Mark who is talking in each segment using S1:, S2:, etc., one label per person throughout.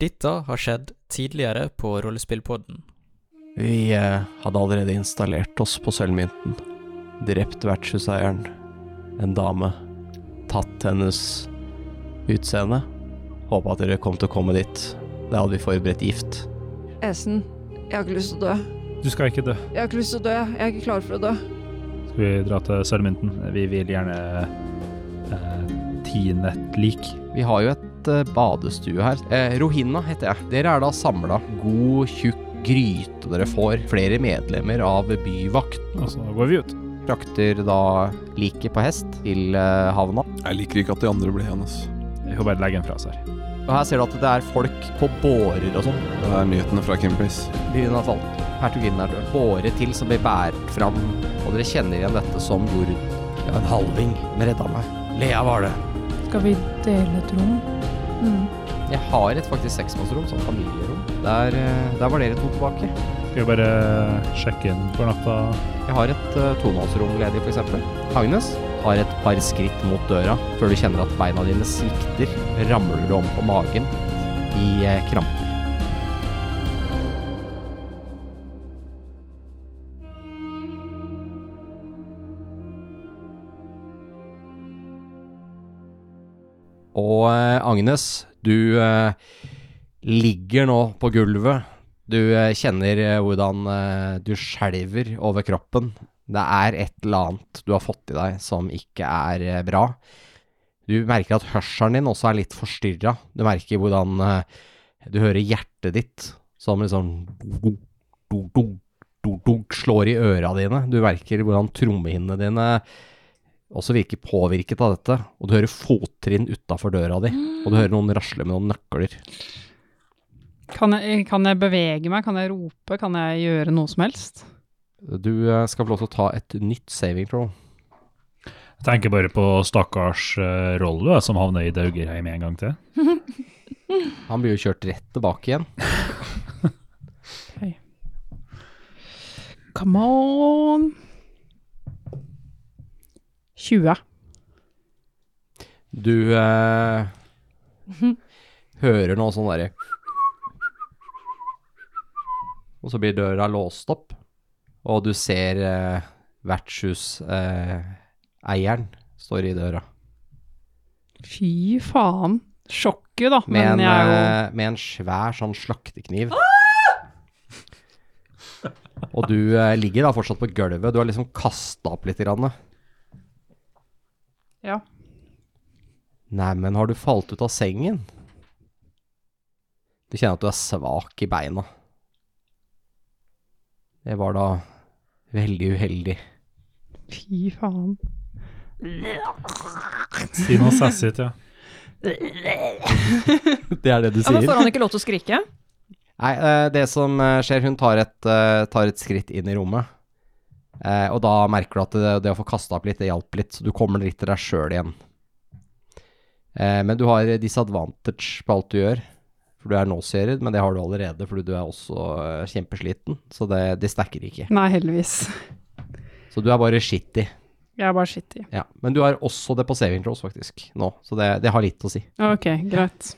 S1: Dette har skjedd tidligere på Rollespillpodden.
S2: Vi eh, hadde allerede installert oss på sølvmynten. Drept vertshuseieren. En dame. Tatt hennes utseende. Håpa at dere kom til å komme dit. Da hadde vi forberedt gift.
S3: Esen, jeg har ikke lyst til å dø.
S4: Du skal ikke dø.
S3: Jeg har ikke lyst til å dø. Jeg er ikke klar for å dø.
S4: Skal vi dra til Sørmynten? Vi vil gjerne eh, tine et lik.
S2: Vi har jo et eh, badestue her. Eh, Rohina heter jeg. Dere er da samla. God, tjukk gryte dere får. Flere medlemmer av byvakt.
S4: Og så går vi ut.
S2: Frakter da liket på hest til eh, havna.
S5: Jeg liker ikke at de andre ble igjen, ass.
S4: Vi får bare legge den fra oss her.
S2: Og her ser du at det er folk på bårer og sånn.
S5: Det er nyhetene fra Kimpis.
S2: Byen har falt. Hertuginnen er død. Båret til som blir båret fram. Og dere kjenner igjen dette som jord. Ja, en halving. Den redda meg. Lea var det.
S6: Skal vi dele et rom? Mm.
S2: Jeg har et faktisk seksmannsrom, sånn familierom. Der, eh, der var dere to tilbake.
S4: Skal vi bare sjekke inn for natta?
S2: Jeg har et uh, tomannsrom ledig, f.eks. Agnes har et par skritt mot døra før du kjenner at beina dine svikter. Ramler du om på magen i eh, kramper. Og eh, Agnes, du eh, ligger nå på gulvet. Du eh, kjenner eh, hvordan eh, du skjelver over kroppen. Det er et eller annet du har fått i deg som ikke er eh, bra. Du merker at hørselen din også er litt forstyrra. Du merker hvordan eh, du hører hjertet ditt som liksom dunk, dunk, dunk, dunk, dunk, slår i øra dine. Du merker hvordan trommehinnene dine også virker påvirket av dette. Og du hører fottrinn utafor døra di, og du hører noen rasle med noen nøkler.
S6: Kan, jeg, kan jeg bevege meg? Kan jeg rope? Kan jeg gjøre noe som helst?
S2: Du eh, skal få lov til å ta et nytt saving throw.
S4: Jeg tenker bare på stakkars uh, Rollo som havner i Daugerheim en gang til.
S2: Han blir jo kjørt rett tilbake igjen.
S6: Come on! 20.
S2: Du eh, hører noe sånn derre Og så blir døra låst opp, og du ser eh, vertshuseieren eh, eieren står i døra.
S6: Fy faen. Sjokket, da.
S2: Med,
S6: Men
S2: en,
S6: jeg er jo Ah!
S2: eh, med en svær sånn slaktekniv. Og du eh, ligger da fortsatt på gulvet. Du har liksom kasta opp litt. Grann.
S6: Ja.
S2: Neimen, har du falt ut av sengen? Du kjenner at du er svak i beina. Det var da veldig uheldig.
S6: Fy faen.
S4: Si noe sassy til.
S2: Det er det du
S3: Ja, men Får han ikke lov til å skrike?
S2: Nei, eh, det som eh, skjer, hun tar et, eh, tar et skritt inn i rommet. Eh, Og da merker du at det, det å få kasta opp litt, det hjalp litt, så du kommer litt til deg sjøl igjen. Eh, Men du har disadvantage på alt du gjør, for du er nauseated, men det har du allerede, fordi du er også eh, kjempesliten, så det, det stacker ikke.
S6: Nei, heldigvis.
S2: Så du er bare shitty.
S6: Jeg er bare shitty.
S2: Ja, men du har også det på saving throws faktisk, nå, så det, det har litt å si.
S6: Ok, greit.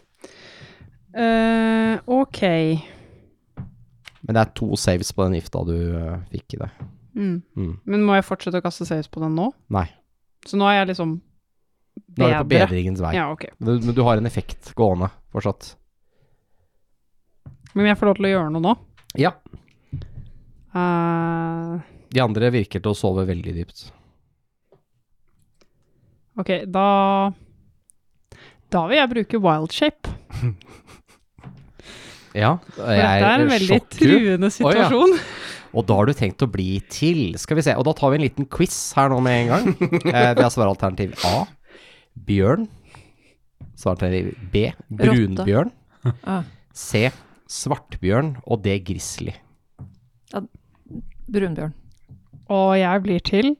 S6: Eh, ok.
S2: Men det er to saves på den gifta du eh, fikk i det.
S6: Mm.
S2: Mm.
S6: Men må jeg fortsette å kaste saves på den nå?
S2: Nei.
S6: Så nå er jeg liksom
S2: Nå er det på
S6: bedre.
S2: bedringens vei.
S6: Ja, ok.
S2: Men, men du har en effekt gående fortsatt.
S6: Men jeg får lov til å gjøre noe nå.
S2: Ja.
S6: Eh,
S2: De andre virker til å sove veldig dypt.
S6: ok, da Da vil jeg bruke wild shape.
S2: Ja,
S6: For dette er en veldig truende situasjon.
S2: Og da har du tenkt å bli til. Skal vi se. Og da tar vi en liten quiz her nå med en gang. eh, vi har svaralternativ A bjørn. Svaralternativ B brunbjørn.
S3: Ah.
S2: C svartbjørn. Og D grizzly.
S3: Brunbjørn.
S6: Og jeg blir til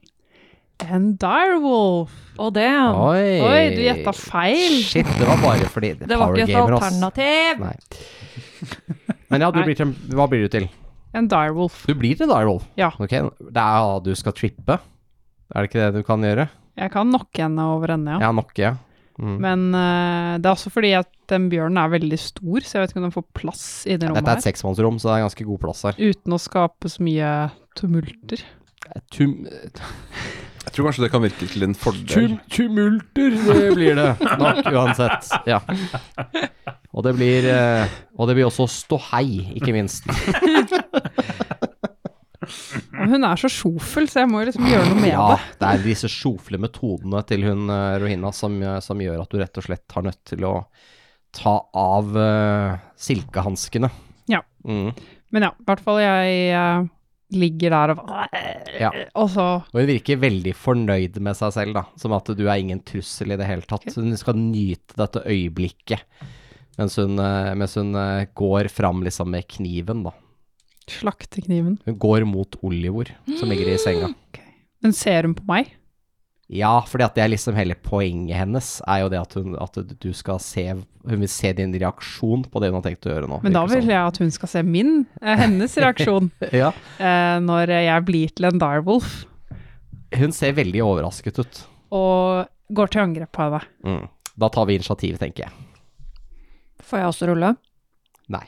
S6: en direwolf.
S3: Å, det. ja.
S2: Oi,
S6: Oi, du gjetta feil.
S2: Shit, det var bare fordi
S3: Det var ikke et
S2: gamer, ass.
S3: alternativ.
S2: Nei. Men ja, du
S6: Nei.
S2: blir til Hva blir du til?
S6: En direwolf.
S2: Du blir til Direwolf.
S6: Ja.
S2: Ok, det er ja, du skal trippe. Er det ikke det du kan gjøre?
S6: Jeg kan knocke henne over ende, ja.
S2: Ja, nok, ja. Mm.
S6: Men eh, det er også fordi at den bjørnen er veldig stor, så jeg vet ikke om den får plass i det
S2: Dette er
S6: rommet
S2: et seksmannsrom, så det er ganske god plass her.
S6: her. Uten å skape så mye tumulter.
S2: Tum
S5: Jeg tror kanskje det kan virke til en fordel.
S2: tum tumulter det blir det nok, uansett. Ja. Og det blir eh, Og det blir også ståhei, ikke minst.
S6: Og hun er så sjofel, så jeg må jo liksom gjøre noe med
S2: Ja,
S6: det.
S2: det er disse sjofle metodene til hun eh, Rohina som, eh, som gjør at du rett og slett har nødt til å ta av eh, silkehanskene.
S6: Ja.
S2: Mm.
S6: Men ja, i hvert fall jeg eh, ligger der og
S2: Ja.
S6: Og så
S2: Og hun virker veldig fornøyd med seg selv, da. Som at du er ingen trussel i det hele tatt. Hun skal nyte dette øyeblikket mens hun, eh, mens hun eh, går fram liksom med kniven, da.
S6: slakter kniven.
S2: Hun går mot Olivor, som ligger i senga.
S6: Men ser hun på meg?
S2: Ja, fordi at det er liksom hele poenget hennes, er jo det at hun at du skal se Hun vil se din reaksjon på det hun har tenkt å gjøre nå.
S6: Men da
S2: virker det
S6: vil jeg at hun skal se min, eh, hennes reaksjon,
S2: som. Ja.
S6: eh, når jeg blir til en direwolf
S2: Hun ser veldig overrasket ut.
S6: og går til angrep på henne.
S2: Mm. Da tar vi initiativ, tenker jeg.
S3: Får jeg også rulle?
S2: Nei.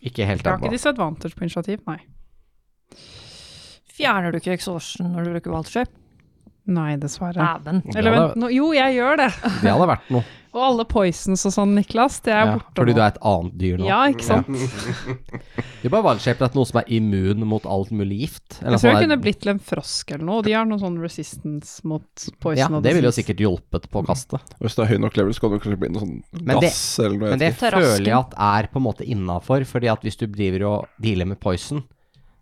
S2: Ikke helt
S6: Jeg har ikke
S2: ennå.
S6: disadvantage på initiativ, nei.
S3: Fjerner du ikke exhaustion når du bruker valgskip?
S6: Nei, dessverre.
S3: Dæven.
S6: Eller
S2: Ja,
S6: vent, nå, jo, jeg gjør det.
S2: Det hadde vært noe.
S6: Og alle poisons og sånn, Niklas, det er
S2: Ja,
S6: borte
S2: fordi
S6: nå.
S2: du er et annet dyr nå.
S6: Ja, ikke sant?
S2: Du er bare vanskjepet etter noe som er immun mot alt mulig gift. eller
S6: Jeg tror
S2: sånn
S6: jeg
S2: er-
S6: kunne blitt til en frosk eller noe. og De har noen sånn resistance mot poison.
S2: ja,
S6: og
S2: det ville jo
S6: disease.
S2: sikkert hjulpet på kastet.
S5: Og Hvis det er høy nok level, så kan det kanskje bli noe sånn
S2: Men det-
S5: gass eller noe.
S2: Men
S5: jeg
S2: det
S5: vet ikke.
S3: Terrasken.
S2: føler jeg at er på en måte innafor, fordi at hvis du driver og dealer med poison,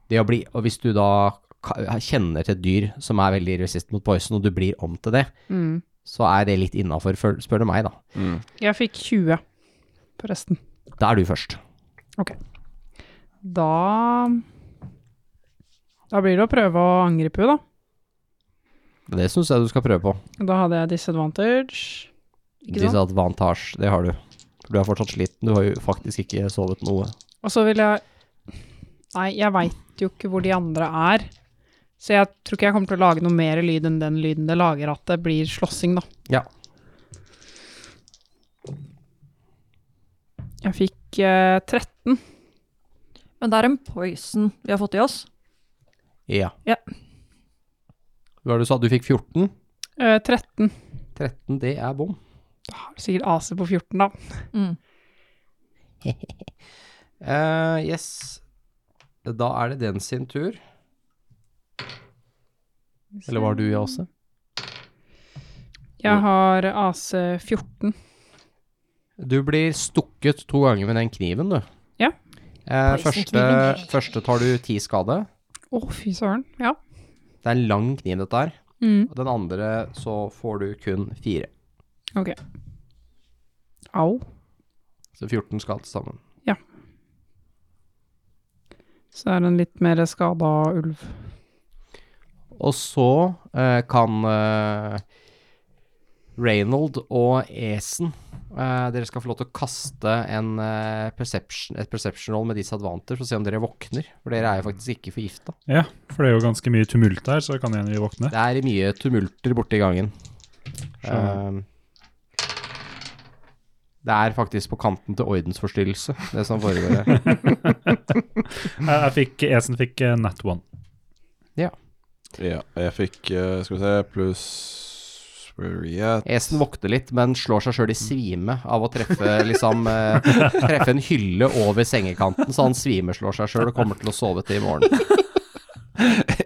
S2: det å bli, og hvis du da ka- kjenner til et dyr som er veldig resist mot poison, og du blir om til det,
S6: Mm.
S2: så er det litt innafor, føl- spør du meg, da.
S6: Jeg fikk 20 på resten.
S2: Da er du først.
S6: Da Da blir det å prøve å angripe henne, da.
S2: Det syns jeg du skal prøve på.
S6: Da hadde jeg disadvantage. Ikke sant?
S2: Disadvantage, det har du. For du er fortsatt sliten, du har jo faktisk ikke sovet noe.
S6: Og så vil jeg Nei, jeg veit jo ikke hvor de andre er. Så jeg tror ikke jeg kommer til å lage noe mer lyd enn den lyden det lager at det blir slåssing, da.
S2: Ja.
S6: Jeg fikk eh, 13.
S3: Men det er en poison vi har fått i oss.
S2: Ja.
S3: Ja.
S2: Hva var det du sa? Du fikk 14?
S6: Eh, 13.
S2: 13, det er bom.
S6: Har du Sikkert AC på 14, da.
S3: Mm.
S2: Eh, yes. Da er det den sin tur. Eller var du i AC?
S6: Jeg har AC 14.
S2: Du blir stukket to ganger med den kniven, du.
S6: Ja.
S2: Eh, første,
S3: Poisonkniven.
S2: første tar du ti skade.
S6: Å, fy søren. Ja.
S2: Det er en lang kniv, dette her.
S6: Mm.
S2: Og den andre så får du kun fire.
S6: Ok. Au.
S2: Så 14 skal til sammen.
S6: Så er det en litt mer skada ulv.
S2: Og så eh, kan eh, Reynold og Esen eh, Dere skal få lov til å kaste en, eh, perception, et perception roll med disadvanter for å se om dere våkner. For dere er jo faktisk ikke forgifta.
S4: Ja, for det er jo ganske mye tumult der, så det kan hende vi våkner.
S2: Det er mye tumulter borte i gangen.
S4: Skjønner.
S2: Eh, det er faktisk på kanten til ordensforstyrrelse, det som foregår her.
S4: Jeg, jeg fikk, Esen fikk eh, nat one.
S5: Ja, jeg fikk eh, Skal vi se Pluss Where are we at?
S2: Esen våkner litt, men slår seg sjøl i svime av å treffe, liksom, eh, treffe en hylle over sengekanten, så han svimeslår seg sjøl og kommer til å sove til i morgen.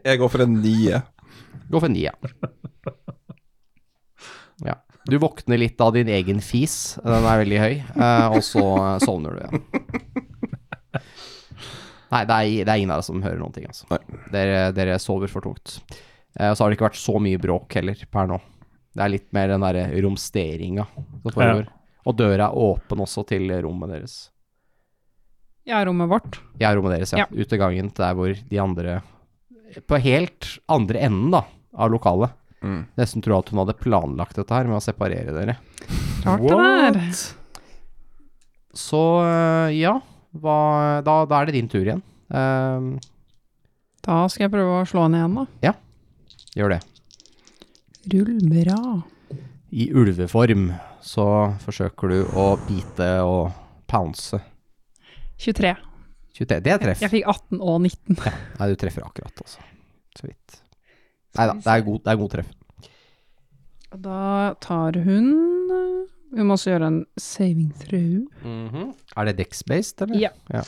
S5: Jeg går for en nie.
S2: Gå for ni, ja. ja. Du våkner litt av din egen fis, den er veldig høy, eh, og så eh, sovner du igjen. Nei, det er, det er ingen av dere som hører noen ting, altså.
S5: Nei.
S2: Dere, dere sover for tungt. Eh, Og så har det ikke vært så mye bråk heller per nå. Det er litt mer den derre romsteringa som foregår. Og døra er åpen også til rommet deres.
S6: Ja, rommet vårt.
S2: Ja, rommet deres, ja.
S6: Ja.
S2: Utegangen til der hvor de andre På helt andre enden, da, av lokalet.
S5: Mm.
S2: Nesten tror jeg at hun hadde planlagt dette her med å separere dere.
S6: Klart det der.
S2: Så øh, ja, hva, da, da er det din tur igjen. Ehm,
S6: Da skal jeg prøve å slå henne igjen, da.
S2: gjør det.
S6: Rull bra.
S2: I ulveform så forsøker du å bite og pounce.
S6: 23.
S2: 23. Det er treff.
S6: Jeg fikk 18 og 19.
S2: Nei, du treffer akkurat, altså. Så vidt. Nei da, det er god, det er god treff.
S6: Og Da tar hun Hun må også gjøre en saving throw.
S2: Er det dex-based, eller?
S6: Ja.
S2: Ja.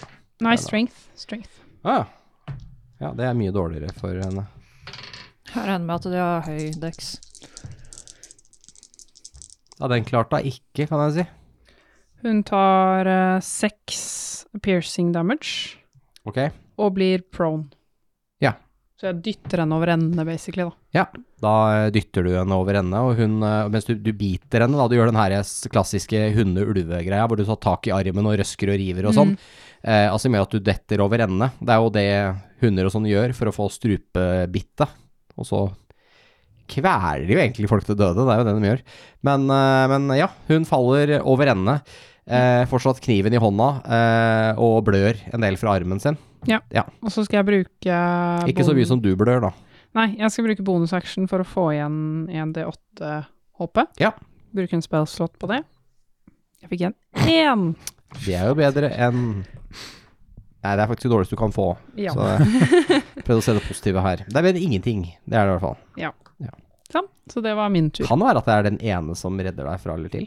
S6: Nei, strength. strength.
S2: Ah, ja. ja, det er mye dårligere for henne.
S3: Jeg regner med at de har høy dex.
S2: Ja, den klarte hun ikke, kan jeg si.
S6: Hun tar eh, seks piercing damage
S2: Ok.
S6: og blir prone.
S2: Ja.
S6: Så jeg dytter henne over endene, basically, da.
S2: Da eh, dytter du henne over ende, og hun, eh, mens du, du biter henne, da, du gjør den her eh, s- klassiske hunde-ulve-greia, hvor du tar tak i armen og røsker og river og sånn, eh, altså med at du detter over ende. Det er jo det hunder og sånn gjør for å få strupebitte, og så kveler jo egentlig folk til døde, det er jo det de gjør. Men, eh, men ja, hun faller over ende, eh, fortsatt kniven i hånda, eh, og blør en del fra armen sin.
S6: Og så skal jeg bruke
S2: Ikke så
S6: bon-
S2: mye som du blør, da.
S6: Nei, jeg skal bruke bonusaction for å få igjen 1D8-håpet.
S2: Ja.
S6: Bruke en spellslott på det. Jeg fikk igjen én.
S2: Det er jo bedre enn Nei, det er faktisk det dårligste du kan få.
S6: Ja.
S2: Så jeg prøvde å se det positive her. Det er bedre enn ingenting. Det er det i hvert fall.
S6: Så det var min tur.
S2: Kan være at det er den ene som redder deg fra eller til.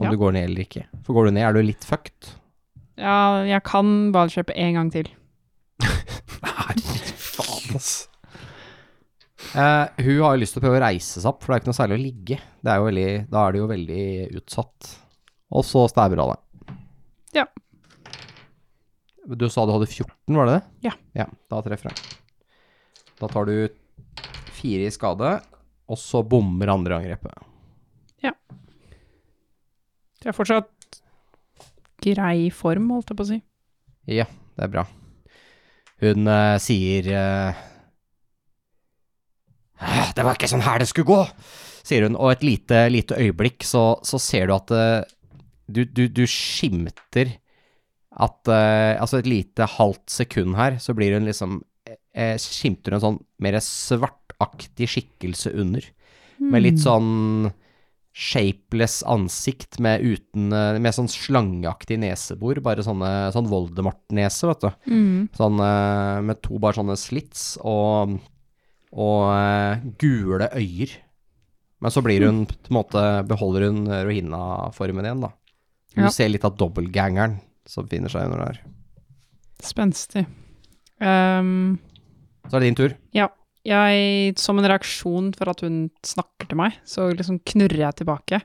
S2: Om
S6: Ja.
S2: du går ned eller ikke. For går du ned, er du litt fucked.
S6: Ja, jeg kan bare kjøpe én gang til.
S5: Faen, ass.
S2: Eh, hun har jo lyst til å prøve å reise seg opp, for det er ikke noe særlig å ligge. Det er jo veldig, da er du jo veldig utsatt. Og så stabber hun deg.
S6: Ja.
S2: Du sa du hadde 14, var det det?
S6: Ja.
S2: Ja, da treffer jeg. Da tar du fire i skade, og så bommer andre angrepet.
S6: Så jeg er fortsatt grei form, holdt jeg på å si.
S2: Det er bra. Hun eh, sier eh, «Ah, Det var ikke sånn her det skulle gå, sier hun. Og et lite, lite øyeblikk så, så ser du at eh, du, du, du skimter at eh, Altså et lite halvt sekund her, så blir hun liksom eh, Skimter hun en sånn mer svartaktig skikkelse under. Med litt sånn shapeless ansikt med, uten, eh, med sånn slangeaktig nesebor. Bare sånne, sånn Voldemort-nese, vet du.
S6: Mm.
S2: Sånn eh, med to bare sånne slits og, og eh, gule øyer. Men så blir hun på en måte Beholder hun Rohina-formen igjen, da. Hun
S6: Ja.
S2: ser litt av dobbeltgangeren som finner seg under der.
S6: Spenstig. Ehm,
S2: Så er det din tur.
S6: jeg, som en reaksjon for at hun snakker til meg, så liksom knurrer jeg tilbake,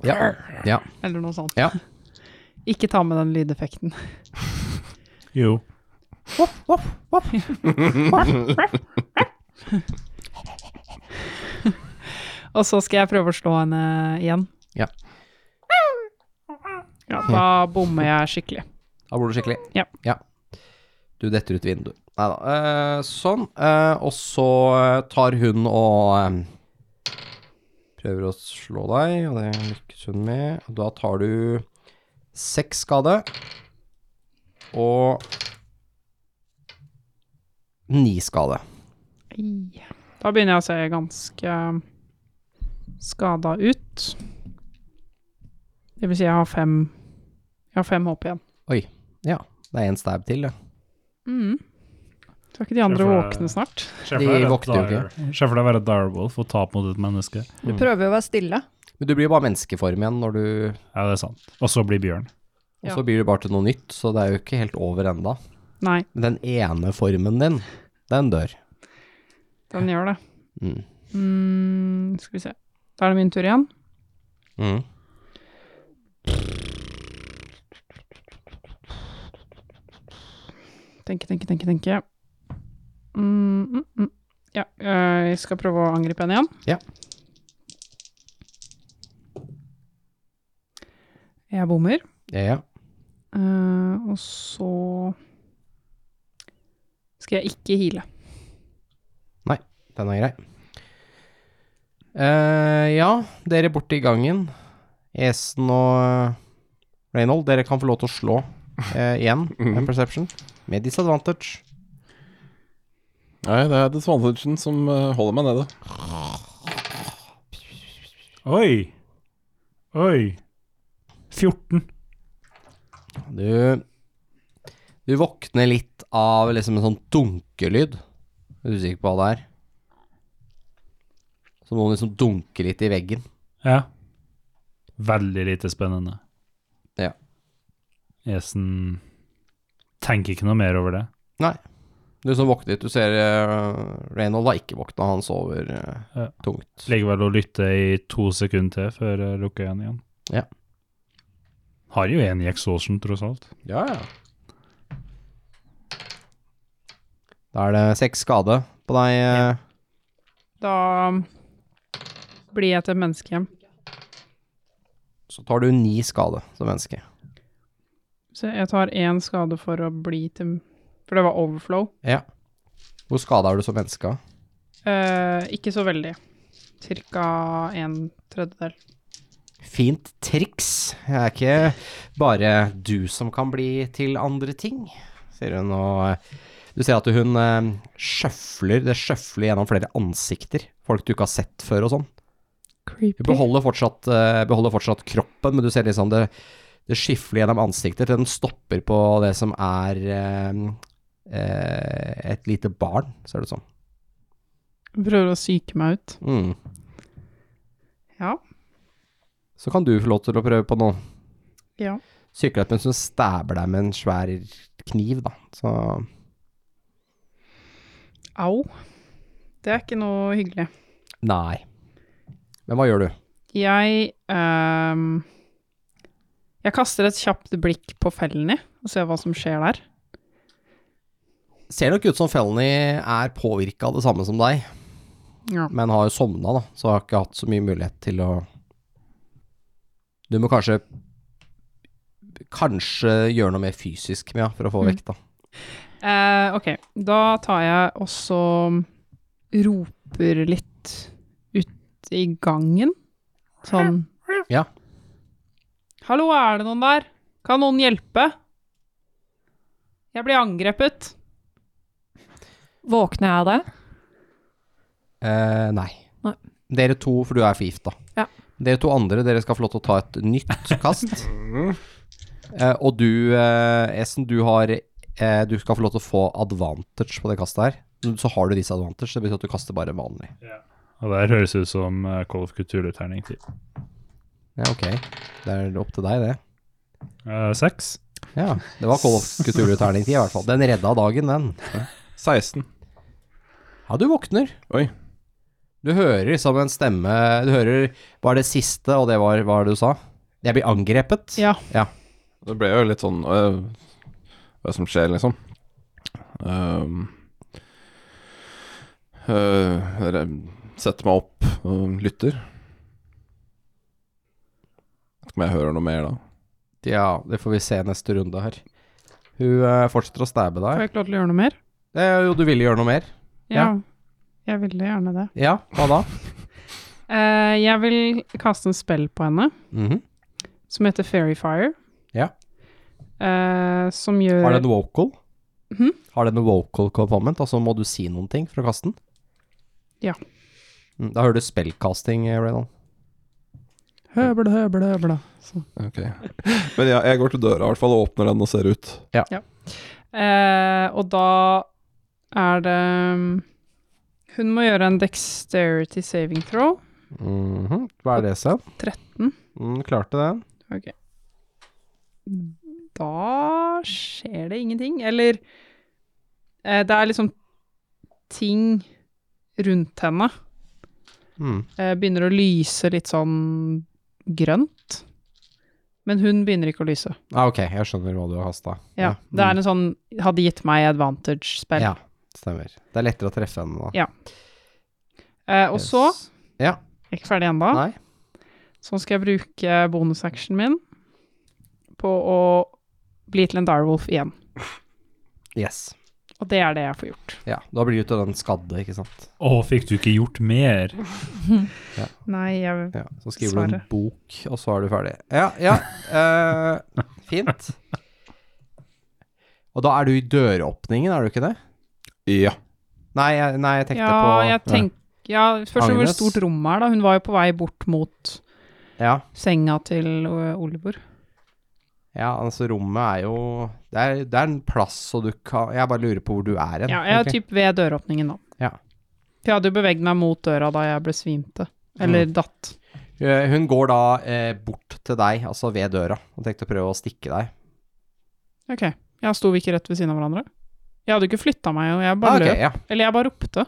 S2: Ja. ja.
S6: eller noe sånt.
S2: Ja.
S6: Ikke ta med den lydeffekten.
S4: Jo.
S6: Og så skal jeg prøve å slå henne igjen.
S2: Ja.
S6: Ja, da bommer jeg skikkelig.
S2: Da bor du skikkelig.
S6: Ja.
S2: Du detter ut vinduet. Nei da. eh, sånn. eh, og så eh, tar hun og eh, prøver å slå deg, og det lykkes hun med. Og da tar du seks skade og ni skade.
S6: Ei. Da begynner jeg å se ganske skada ut. Det vil si jeg har fem Jeg har fem håp igjen.
S2: Det er én stab til, det.
S6: Mm. Tror ikke de andre
S4: Skjer for-
S6: våkne snart.
S4: Ser
S2: De
S4: for deg å være
S2: vokter jo
S4: dire- ser for deg å være direwolf og tape mot et menneske.
S3: Du prøver jo å være stille.
S2: Mm. Men du blir jo bare menneskeform igjen når du
S4: Ja, det er sant. Og så blir bjørn.
S2: Og
S6: Ja.
S2: så blir du bare til noe nytt, så det er jo ikke helt over enda.
S6: Nei,
S2: Men den ene formen din, den dør.
S6: den gjør det.
S2: Mm.
S6: Mm, skal vi se. Da er det min tur igjen.
S2: Mm.
S6: Tenke, tenke, tenke, tenke. Mm, mm, mm. Ja, øh, jeg skal prøve å angripe henne igjen.
S2: Ja.
S6: Jeg bommer,
S2: Ja, ja.
S6: øh, og så skal jeg ikke heale.
S2: Den er grei. Eh, ja, dere borte i gangen. Esen og eh, Reynold, dere kan få lov til å slå eh, igjen med
S5: Mhm.
S2: Perception. Med disadvantage.
S5: Nei, det er disadvantagen som eh, holder meg nede.
S4: Oi! Oi! 14.
S2: Du Du våkner litt av liksom en sånn dunkelyd. Er du Usikker på hva det er. Som noen liksom dunker litt i veggen.
S4: Ja. Veldig lite spennende.
S2: Ja.
S4: Esen tenker ikke noe mer over det.
S2: Du som våknet, du ser uh, Reynold har ikke våkna, han sover eh,
S4: Ja.
S2: tungt.
S4: Ligger vel og lytter i to sekunder til før jeg lukker øynene igjen.
S2: Ja.
S4: Har jo én i exhaustion, tross alt.
S5: Ja, ja.
S2: Da er det seks skade på deg. eh.
S6: Da blir jeg til menneskehjem.
S2: Så tar du ni skade som menneske.
S6: Så jeg tar én skade for å bli til For det var overflow.
S2: Ja. Hvor skada er du som menneske?
S6: Eh, ikke så veldig. Cirka en tredjedel.
S2: Fint triks. Det er ikke bare du som kan bli til andre ting, sier hun. Og eh, du ser at hun eh, sjøfler, det sjøfler gjennom flere ansikter. Folk du ikke har sett før og sånn.
S6: Creepy.
S2: Hun beholder fortsatt, eh, beholder fortsatt kroppen, men du ser liksom det, det skifler gjennom ansiktet til den stopper på det som er eh, eh, et lite barn, ser det ut som.
S6: Prøver å psyke meg ut.
S2: Mm.
S6: Ja.
S2: Så kan du få lov til å prøve på noe.
S6: Ja.
S2: Sykler deg mens hun stabber deg med en svær kniv, da. Så
S6: Au. Det er ikke noe hyggelig.
S2: nei. Men hva gjør du?
S6: Jeg ehm, Jeg kaster et kjapt blikk på Felny og ser hva som skjer der.
S2: Ser nok ut som Felny er påvirka av det samme som deg,
S6: Ja.
S2: men har jo sovna, da, så har ikke hatt så mye mulighet til å Du må kanskje Kanskje gjøre noe mer fysisk med henne for å få
S6: Mm.
S2: vekk, da.
S6: Eh, ok, da tar jeg også um, roper litt ut i gangen. Sånn.
S2: Ja.
S6: Hallo, er det noen der? Kan noen hjelpe? Jeg blir angrepet.
S3: Våkner jeg av det?
S2: Eh, nei.
S3: Nei.
S2: Dere to, for du er forgifta.
S3: Ja.
S2: Dere to andre, dere skal få lov til å ta et nytt kast. Eh, og du, eh, Esen, du har eh, Du skal få lov til å få advantage på det kastet her. Så har du disadvantage, det betyr at du kaster bare vanlig.
S4: Og det her høres ut som eh, Call of Couture-terning til
S2: Ja, ok. Det er opp til deg, det.
S4: Eh, seks.
S2: Ja. Det var Kolf kulturterning 10, i hvert fall. Den redda dagen, den.
S5: 16.
S2: Ja, du våkner.
S5: Oi.
S2: Du hører liksom en stemme Du hører bare det siste, og det var hva var det du sa? Jeg blir angrepet.
S6: Ja.
S5: Det ble jo litt sånn øh, Hva som skjer, liksom. Ehm, øh, re- setter meg opp og lytter. Vet ikke om jeg hører noe mer da.
S2: Ja, det får vi se neste runde her. Hun eh, fortsetter å stabbe
S6: Får
S2: deg.
S6: jeg ikke lov til å gjøre noe mer?
S2: Det er jo, du ville gjøre noe mer?
S6: Ja.
S2: Ja.
S6: Jeg ville gjerne det.
S2: Ja, hva da?
S6: Eh, jeg vil kaste en spell på henne
S2: Mhm.
S6: som heter Fairy Fire.
S2: Ja.
S6: Eh, som gjør
S2: Har den vocal?
S6: Mhm.
S2: Har den vocal component? Altså må du si noen ting for å kaste den?
S6: Ja.
S2: Mm, Da hører du spellcasting, eh, Reynold.
S6: Høble, høble, høble. Sånn.
S5: Ok. Men jeg, jeg går til døra i hvert fall og åpner den og ser ut.
S6: Eh, og da er det um, Hun må gjøre en dexterity saving throw.
S2: Mhm. Hva er det, Sen?
S6: 13.
S2: Mm, klarte den.
S6: Da skjer det ingenting. Eller eh, Det er liksom ting rundt henne.
S2: Mm.
S6: Eh, begynner å lyse litt sånn grønt. Men hun begynner ikke å lyse.
S2: Ah, ok, jeg skjønner hva du har mm, kasta.
S6: Ja, Det er en sånn Hadde gitt meg advantage-spill.
S2: Ja, stemmer. Det er lettere å treffe enn da.
S6: Ja. Eh, og så
S2: Yes. Ja,
S6: Jeg er ikke ferdig ennå.
S2: nei.
S6: Så skal jeg bruke bonusactionen min på å bli til en direwolf igjen.
S2: Yes.
S6: Og det er det jeg får gjort.
S2: Ja, da blir du til den skadde, ikke sant.
S4: Å, fikk du ikke gjort mer?
S6: Nei, jeg
S2: Ja, så skriver du en
S6: Svaret.
S2: bok, og så er du ferdig. Ja, ja. eh, fint. Og da er du i døråpningen, er du ikke det?
S5: Ja.
S2: Nei, jeg, nei, jeg tenkte
S6: ja,
S2: på
S6: jeg tenk... Ja, først hvor
S2: Agnes?
S6: stort rommet er, da. Hun var jo på vei bort mot
S2: Ja.
S6: senga til ø, Oliver.
S2: ja, altså rommet er jo det er, det er en plass, så du kan Jeg bare lurer på hvor du er hen.
S6: Ja, jeg er
S2: egentlig.
S6: typ ved døråpningen, da.
S2: Ja.
S6: For jeg hadde jo beveget meg mot døra da jeg ble svimte. Eller
S2: Mm.
S6: datt.
S2: Eh, Hun går da eh, bort til deg, altså ved døra, og tenkte å prøve å stikke deg.
S6: Ok. Ja, sto vi ikke rett ved siden av hverandre? Jeg hadde jo ikke flytta meg, og jeg
S2: Ah,
S6: bare
S2: ok,
S6: løp.
S2: ja.
S6: Eller jeg bare ropte.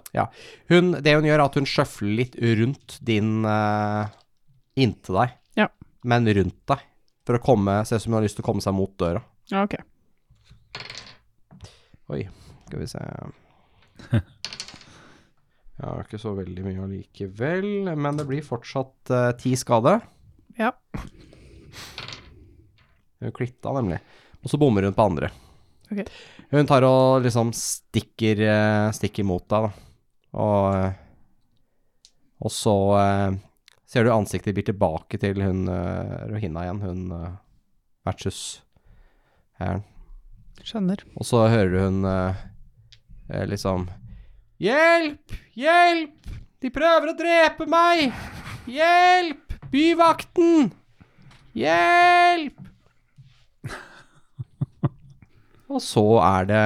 S2: hun, det hun gjør, er at hun sjøfler litt rundt din eh, Inntil deg,
S6: Ja.
S2: men rundt deg. For å komme Se ut som hun har lyst til å komme seg mot døra.
S6: Ja, ok.
S2: Skal vi se Jeg har ikke så veldig mye allikevel, men det blir fortsatt eh, ti skade.
S6: Ja.
S2: Hun klitta nemlig. Og så bommer hun på andre.
S6: Ok.
S2: Hun tar og liksom stikker, eh, stikker mot deg, da. Og, eh, og så eh, ser du ansiktet blir tilbake til hun eh, Rohina igjen, hun eh, versus her.
S6: Skjønner.
S2: Og så hører du hun eh, eh, liksom Hjelp! Hjelp! De prøver å drepe meg! Hjelp! Byvakten! Hjelp! Og så er det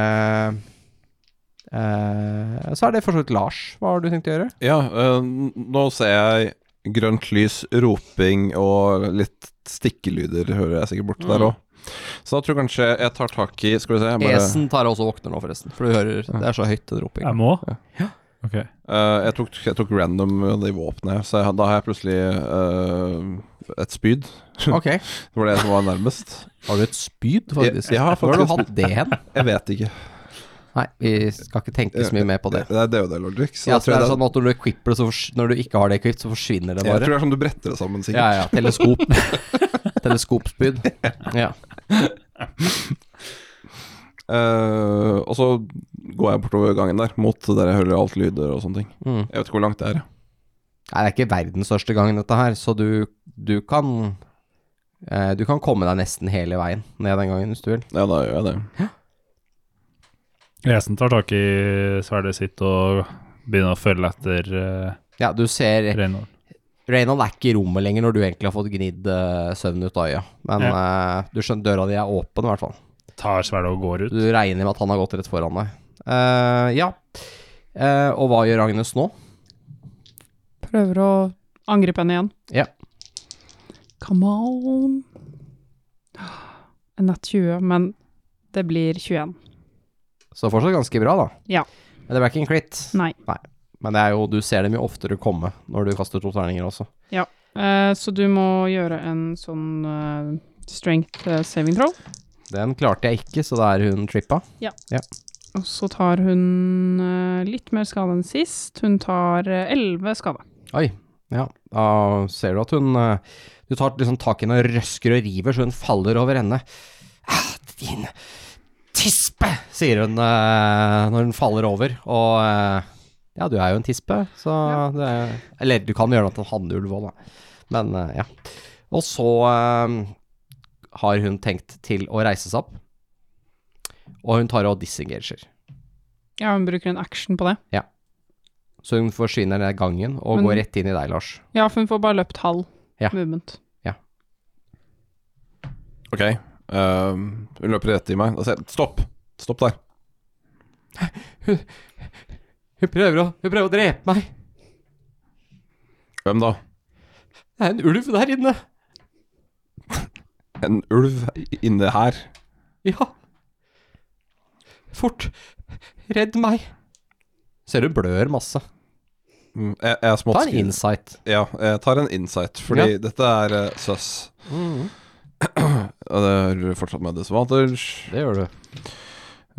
S2: eh, Så er det for så vidt Lars. Hva har du tenkt å gjøre?
S5: Ja, eh, nå ser jeg grønt lys, roping og litt stikkelyder hører jeg sikkert borte der òg. Så da tror jeg kanskje jeg tar tak i Skal vi se jeg bare,
S2: Esen tar også våkner nå, forresten. For du hører Det er så høyt, den
S4: Jeg
S2: ropingen.
S4: må?
S5: Ja.
S4: Ok.
S5: Eh, jeg, tok, jeg tok random de våpnene, så jeg, da har jeg plutselig eh, et spyd.
S2: Ok.
S5: Det var det som var nærmest.
S2: Har du et spyd, faktisk?
S5: Jeg- jeg har
S2: Hvor har du
S5: faktisk-
S2: hatt det hen?
S5: Jeg vet ikke.
S2: Nei, vi skal ikke tenke så mye mer på det.
S5: Det, det er DOD-logic. Så
S2: Ja,
S5: da
S2: så det
S5: tror
S2: er
S5: jeg,
S2: sånn at når du equipper det, så fors- når du ikke har det equipped, så forsvinner det
S5: det, jeg tror
S2: bare.
S5: det er sånn du bretter det sammen,
S2: Ja,
S5: sikkert.
S2: ja. Teleskop. Teleskopspyd. Ja.
S5: Eh, og så går jeg bortover gangen der, mot der jeg hører alt lyder og sånne ting.
S2: Mm.
S5: Jeg vet ikke hvor langt det er.
S2: Nei, det er ikke verdens største gang, dette her, så du, du kan eh, Du kan komme deg nesten hele veien ned den gangen, hvis du vil.
S5: Ja, da gjør jeg det.
S4: Esen tar tak i sverdet sitt og begynner å følge etter uh,
S2: Ja, du ser
S4: Reynold.
S2: Reynold er ikke i rommet lenger når du egentlig har fått gnidd eh, søvn ut av øya, men eh, du skjønner døra di er åpen, i hvert fall.
S4: Tar sverdet og går ut.
S2: Du regner med at han har gått rett foran deg. Eh, ja. Eh, og hva gjør Agnes nå?
S6: Prøver å angripe henne igjen.
S2: Ja.
S6: Come on. En natt 20, men det blir 21.
S2: Så fortsatt ganske bra, da.
S6: Ja.
S2: Men det ble ikke en klitt.
S6: Nei.
S2: Men det er jo, du ser dem jo oftere komme når du kaster to terninger også.
S6: Eh, så du må gjøre en sånn eh, strength eh, saving throw.
S2: Den klarte jeg ikke, så da er hun trippa.
S6: Og så tar hun eh, litt mer skade enn sist. Hun tar eh, 11 skade.
S2: Oi. Ja, da ser du at hun eh, Du tar liksom tak i henne og røsker og river, så hun faller over ende. Ah, din tispe, sier hun eh, når hun faller over. Og eh, ja, du er jo en tispe, så det er Eller du kan gjøre det til en hannulv òg, da. Men eh, ja. Og så eh, har hun tenkt til å reise seg opp, og hun tar og disengager.
S6: Ja, hun bruker en action på det.
S2: Så hun forsvinner ned gangen og
S6: Men-
S2: går rett inn i deg, Lars.
S6: Ja, for hun får bare løpt halv
S2: Ja.
S6: movement.
S5: Ok. ehm, hun løper rett i meg. Da sier jeg stopp! Stopp der.
S2: Hun prøver å, hun prøver å drepe meg!
S5: Hvem da?
S2: Det er en ulv der inne.
S5: En ulv inne her.
S2: Ja. Fort. Redd meg. Ser du blør masse.
S5: Mm, Jeg, jeg smått
S2: Ta en
S5: skriver.
S2: insight.
S5: Ja, jeg tar en insight, fordi dette er uh, søss.
S2: Mm,
S5: Og det er fortsatt med disadvantage.
S2: Det gjør du.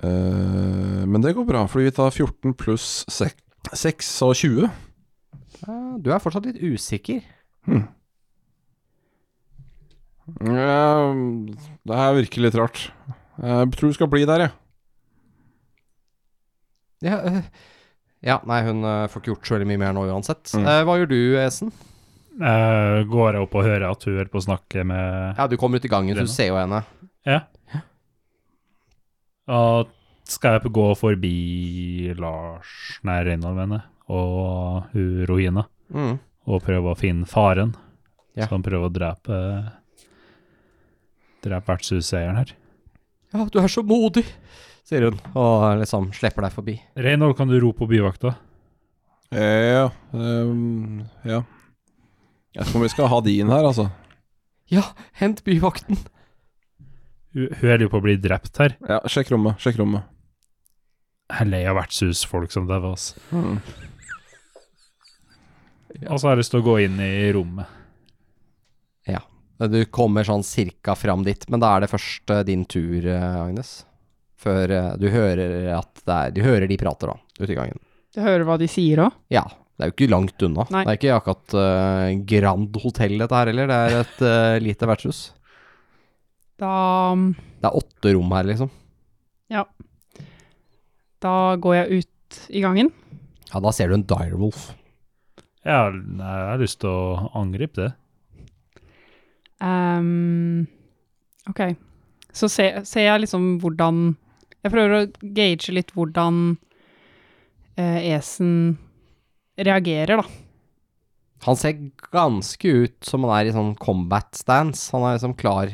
S5: Eh, men det går bra, fordi vi tar 14 pluss 6, 6 og 20.
S2: Ja, Du er fortsatt litt usikker.
S5: Ja, det her virker litt rart. Jeg tror det skal bli der, jeg.
S2: Ja, øh. ja nei, hun øh, får ikke gjort så veldig mye mer nå uansett.
S5: Mm.
S2: Eh, hva gjør du, Esen?
S4: Eh, går jeg opp og hører at hun holder på å snakke med
S2: Ja, Du kommer ut i gangen, så du
S4: Lena.
S2: ser jo henne.
S4: Ja. Og skal jeg gå forbi Lars Nei, Reynold, mener jeg. og hun Rohina
S5: Mm.
S4: og prøve å finne faren.
S2: Ja.
S4: Så han prøver å drepe Drepe vertshuseieren her.
S2: Ja, du er så modig, sier hun, og liksom slipper deg forbi.
S4: Reynold, kan du rope på byvakta?
S5: Eh, Ja, ehm, ja. Jeg vet ikke om vi skal ha de inn her, altså.
S2: Ja, hent byvakten.
S4: Hun hun holder jo på å bli drept her.
S5: Ja, Sjekk rommet. sjekk rommet
S4: Jeg er lei av vertshusfolk som dauer, altså.
S5: mm.
S2: Ja.
S4: Og så har jeg lyst til å gå inn i rommet.
S2: Du kommer sånn cirka fram dit, men da er det først eh, din tur, eh, Agnes. Før eh, du hører at det er Du hører de prater, da, ute i gangen.
S6: Du hører hva de sier òg.
S2: Ja, det er jo ikke langt unna.
S6: Nei.
S2: Det er ikke akkurat eh, Grand Hotell dette her heller, det er et eh, lite vertshus.
S6: Da,
S2: Det er åtte rom her, liksom.
S6: da går jeg ut i gangen.
S2: Ja, da ser du en direwolf.
S4: Jeg har, nei, jeg har lyst til å angripe det.
S6: Ehm, ok. Så se, ser jeg liksom hvordan Jeg prøver å gage litt hvordan eh, Esen reagerer, da.
S2: Han ser ganske ut som han er i sånn combat stance. Han er liksom klar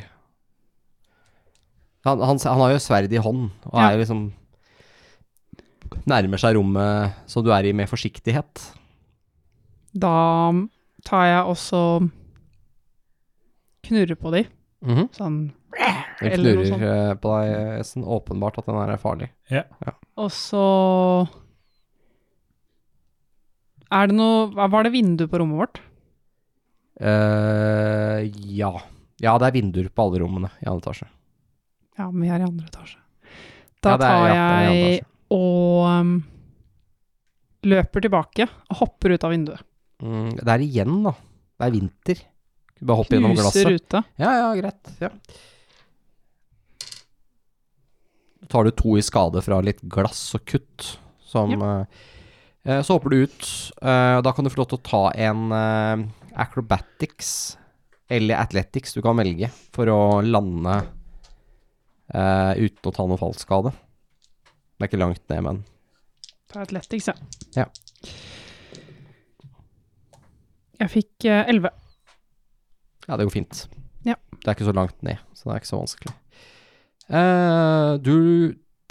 S2: Han, han, han har jo sverd i hånd, og
S6: Ja.
S2: er jo liksom Nærmer seg rommet som du er i, med forsiktighet.
S6: Da tar jeg også Knurrer på de,
S2: Mhm.
S6: sånn
S2: Den
S6: Eller noe
S2: knurrer eh, på deg, Essen. Åpenbart at den her er farlig.
S6: Og så Er det noe hva- Var det vindu på rommet vårt?
S2: eh ja. Ja, det er vinduer på alle rommene i andre etasje.
S6: Ja, men vi er i andre etasje. Da
S2: ja, det er-
S6: tar
S2: ja, det er i andre
S6: jeg
S2: etasje.
S6: og um, løper tilbake og hopper ut av vinduet.
S2: Mm, Det er igjen, da. Det er vinter. Du bare hopper gjennom
S6: Knuser
S2: glasset.
S6: ruta.
S2: Ja, ja, greit. Ja. Da tar du to i skade fra litt glass og kutt, som eh, eh, Så hopper du ut. eh, og da kan du få lov til å ta en eh, acrobatics eller athletics du kan velge for å lande eh, uten å ta noe fallskade. Det er ikke langt ned, men
S6: På Athletics, ja.
S2: Ja.
S6: Jeg fikk eh, elleve.
S2: Ja, det går fint.
S6: Ja.
S2: Det er ikke så langt ned, så det er ikke så vanskelig. Eh, du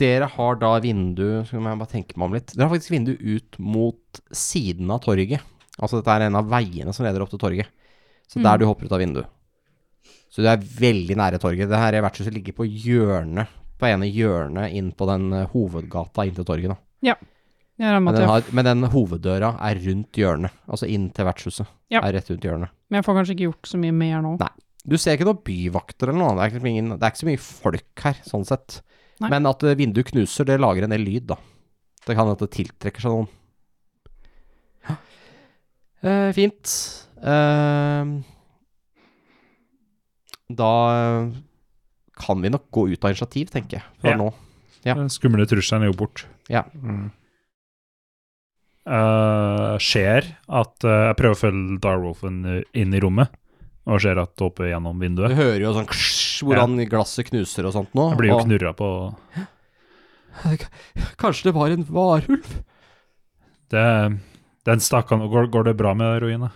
S2: Dere har da vindu Skal jeg bare tenke meg om litt. Dere har faktisk vindu ut mot siden av torget. Altså dette er en av veiene som leder opp til torget. Så
S6: Mm.
S2: der du hopper ut av vinduet. Så du er veldig nære torget. Det her vertshuset ligger på hjørnet, på ene hjørnet inn på den eh, hovedgata inn til torget. Da.
S6: Jeg regner med
S2: Men
S6: at
S2: den,
S6: jeg,
S2: har, men den hoveddøra er rundt hjørnet, altså inn til vertshuset.
S6: Ja.
S2: Er rett rundt hjørnet.
S6: men jeg får kanskje ikke gjort så mye mer nå.
S2: Nei. Du ser ikke noen byvakter eller noe, det er ikke, ingen, det er ikke så mye folk her, sånn sett.
S6: Nei.
S2: Men at eh, vinduet knuser, det lager en del lyd, da. Det kan hende at det tiltrekker seg noen. Ja. Eh, fint. Eh, da eh, kan vi nok gå ut av initiativ, tenker jeg, for
S4: Ja.
S2: nå. Ja.
S4: Den skumle trusselen er jo bort. Eh, ser at eh, Jeg prøver å følge Darwolfen inn i rommet, og ser at det hopper gjennom
S2: Du
S4: vinduet.
S2: hører jo sånn ksh, hvordan glasset knuser og sånt nå.
S4: Jeg blir jo
S2: og-
S4: knurra på
S2: Kanskje det var en varulv?
S4: det, Den stakkan går, går det bra med Ruina?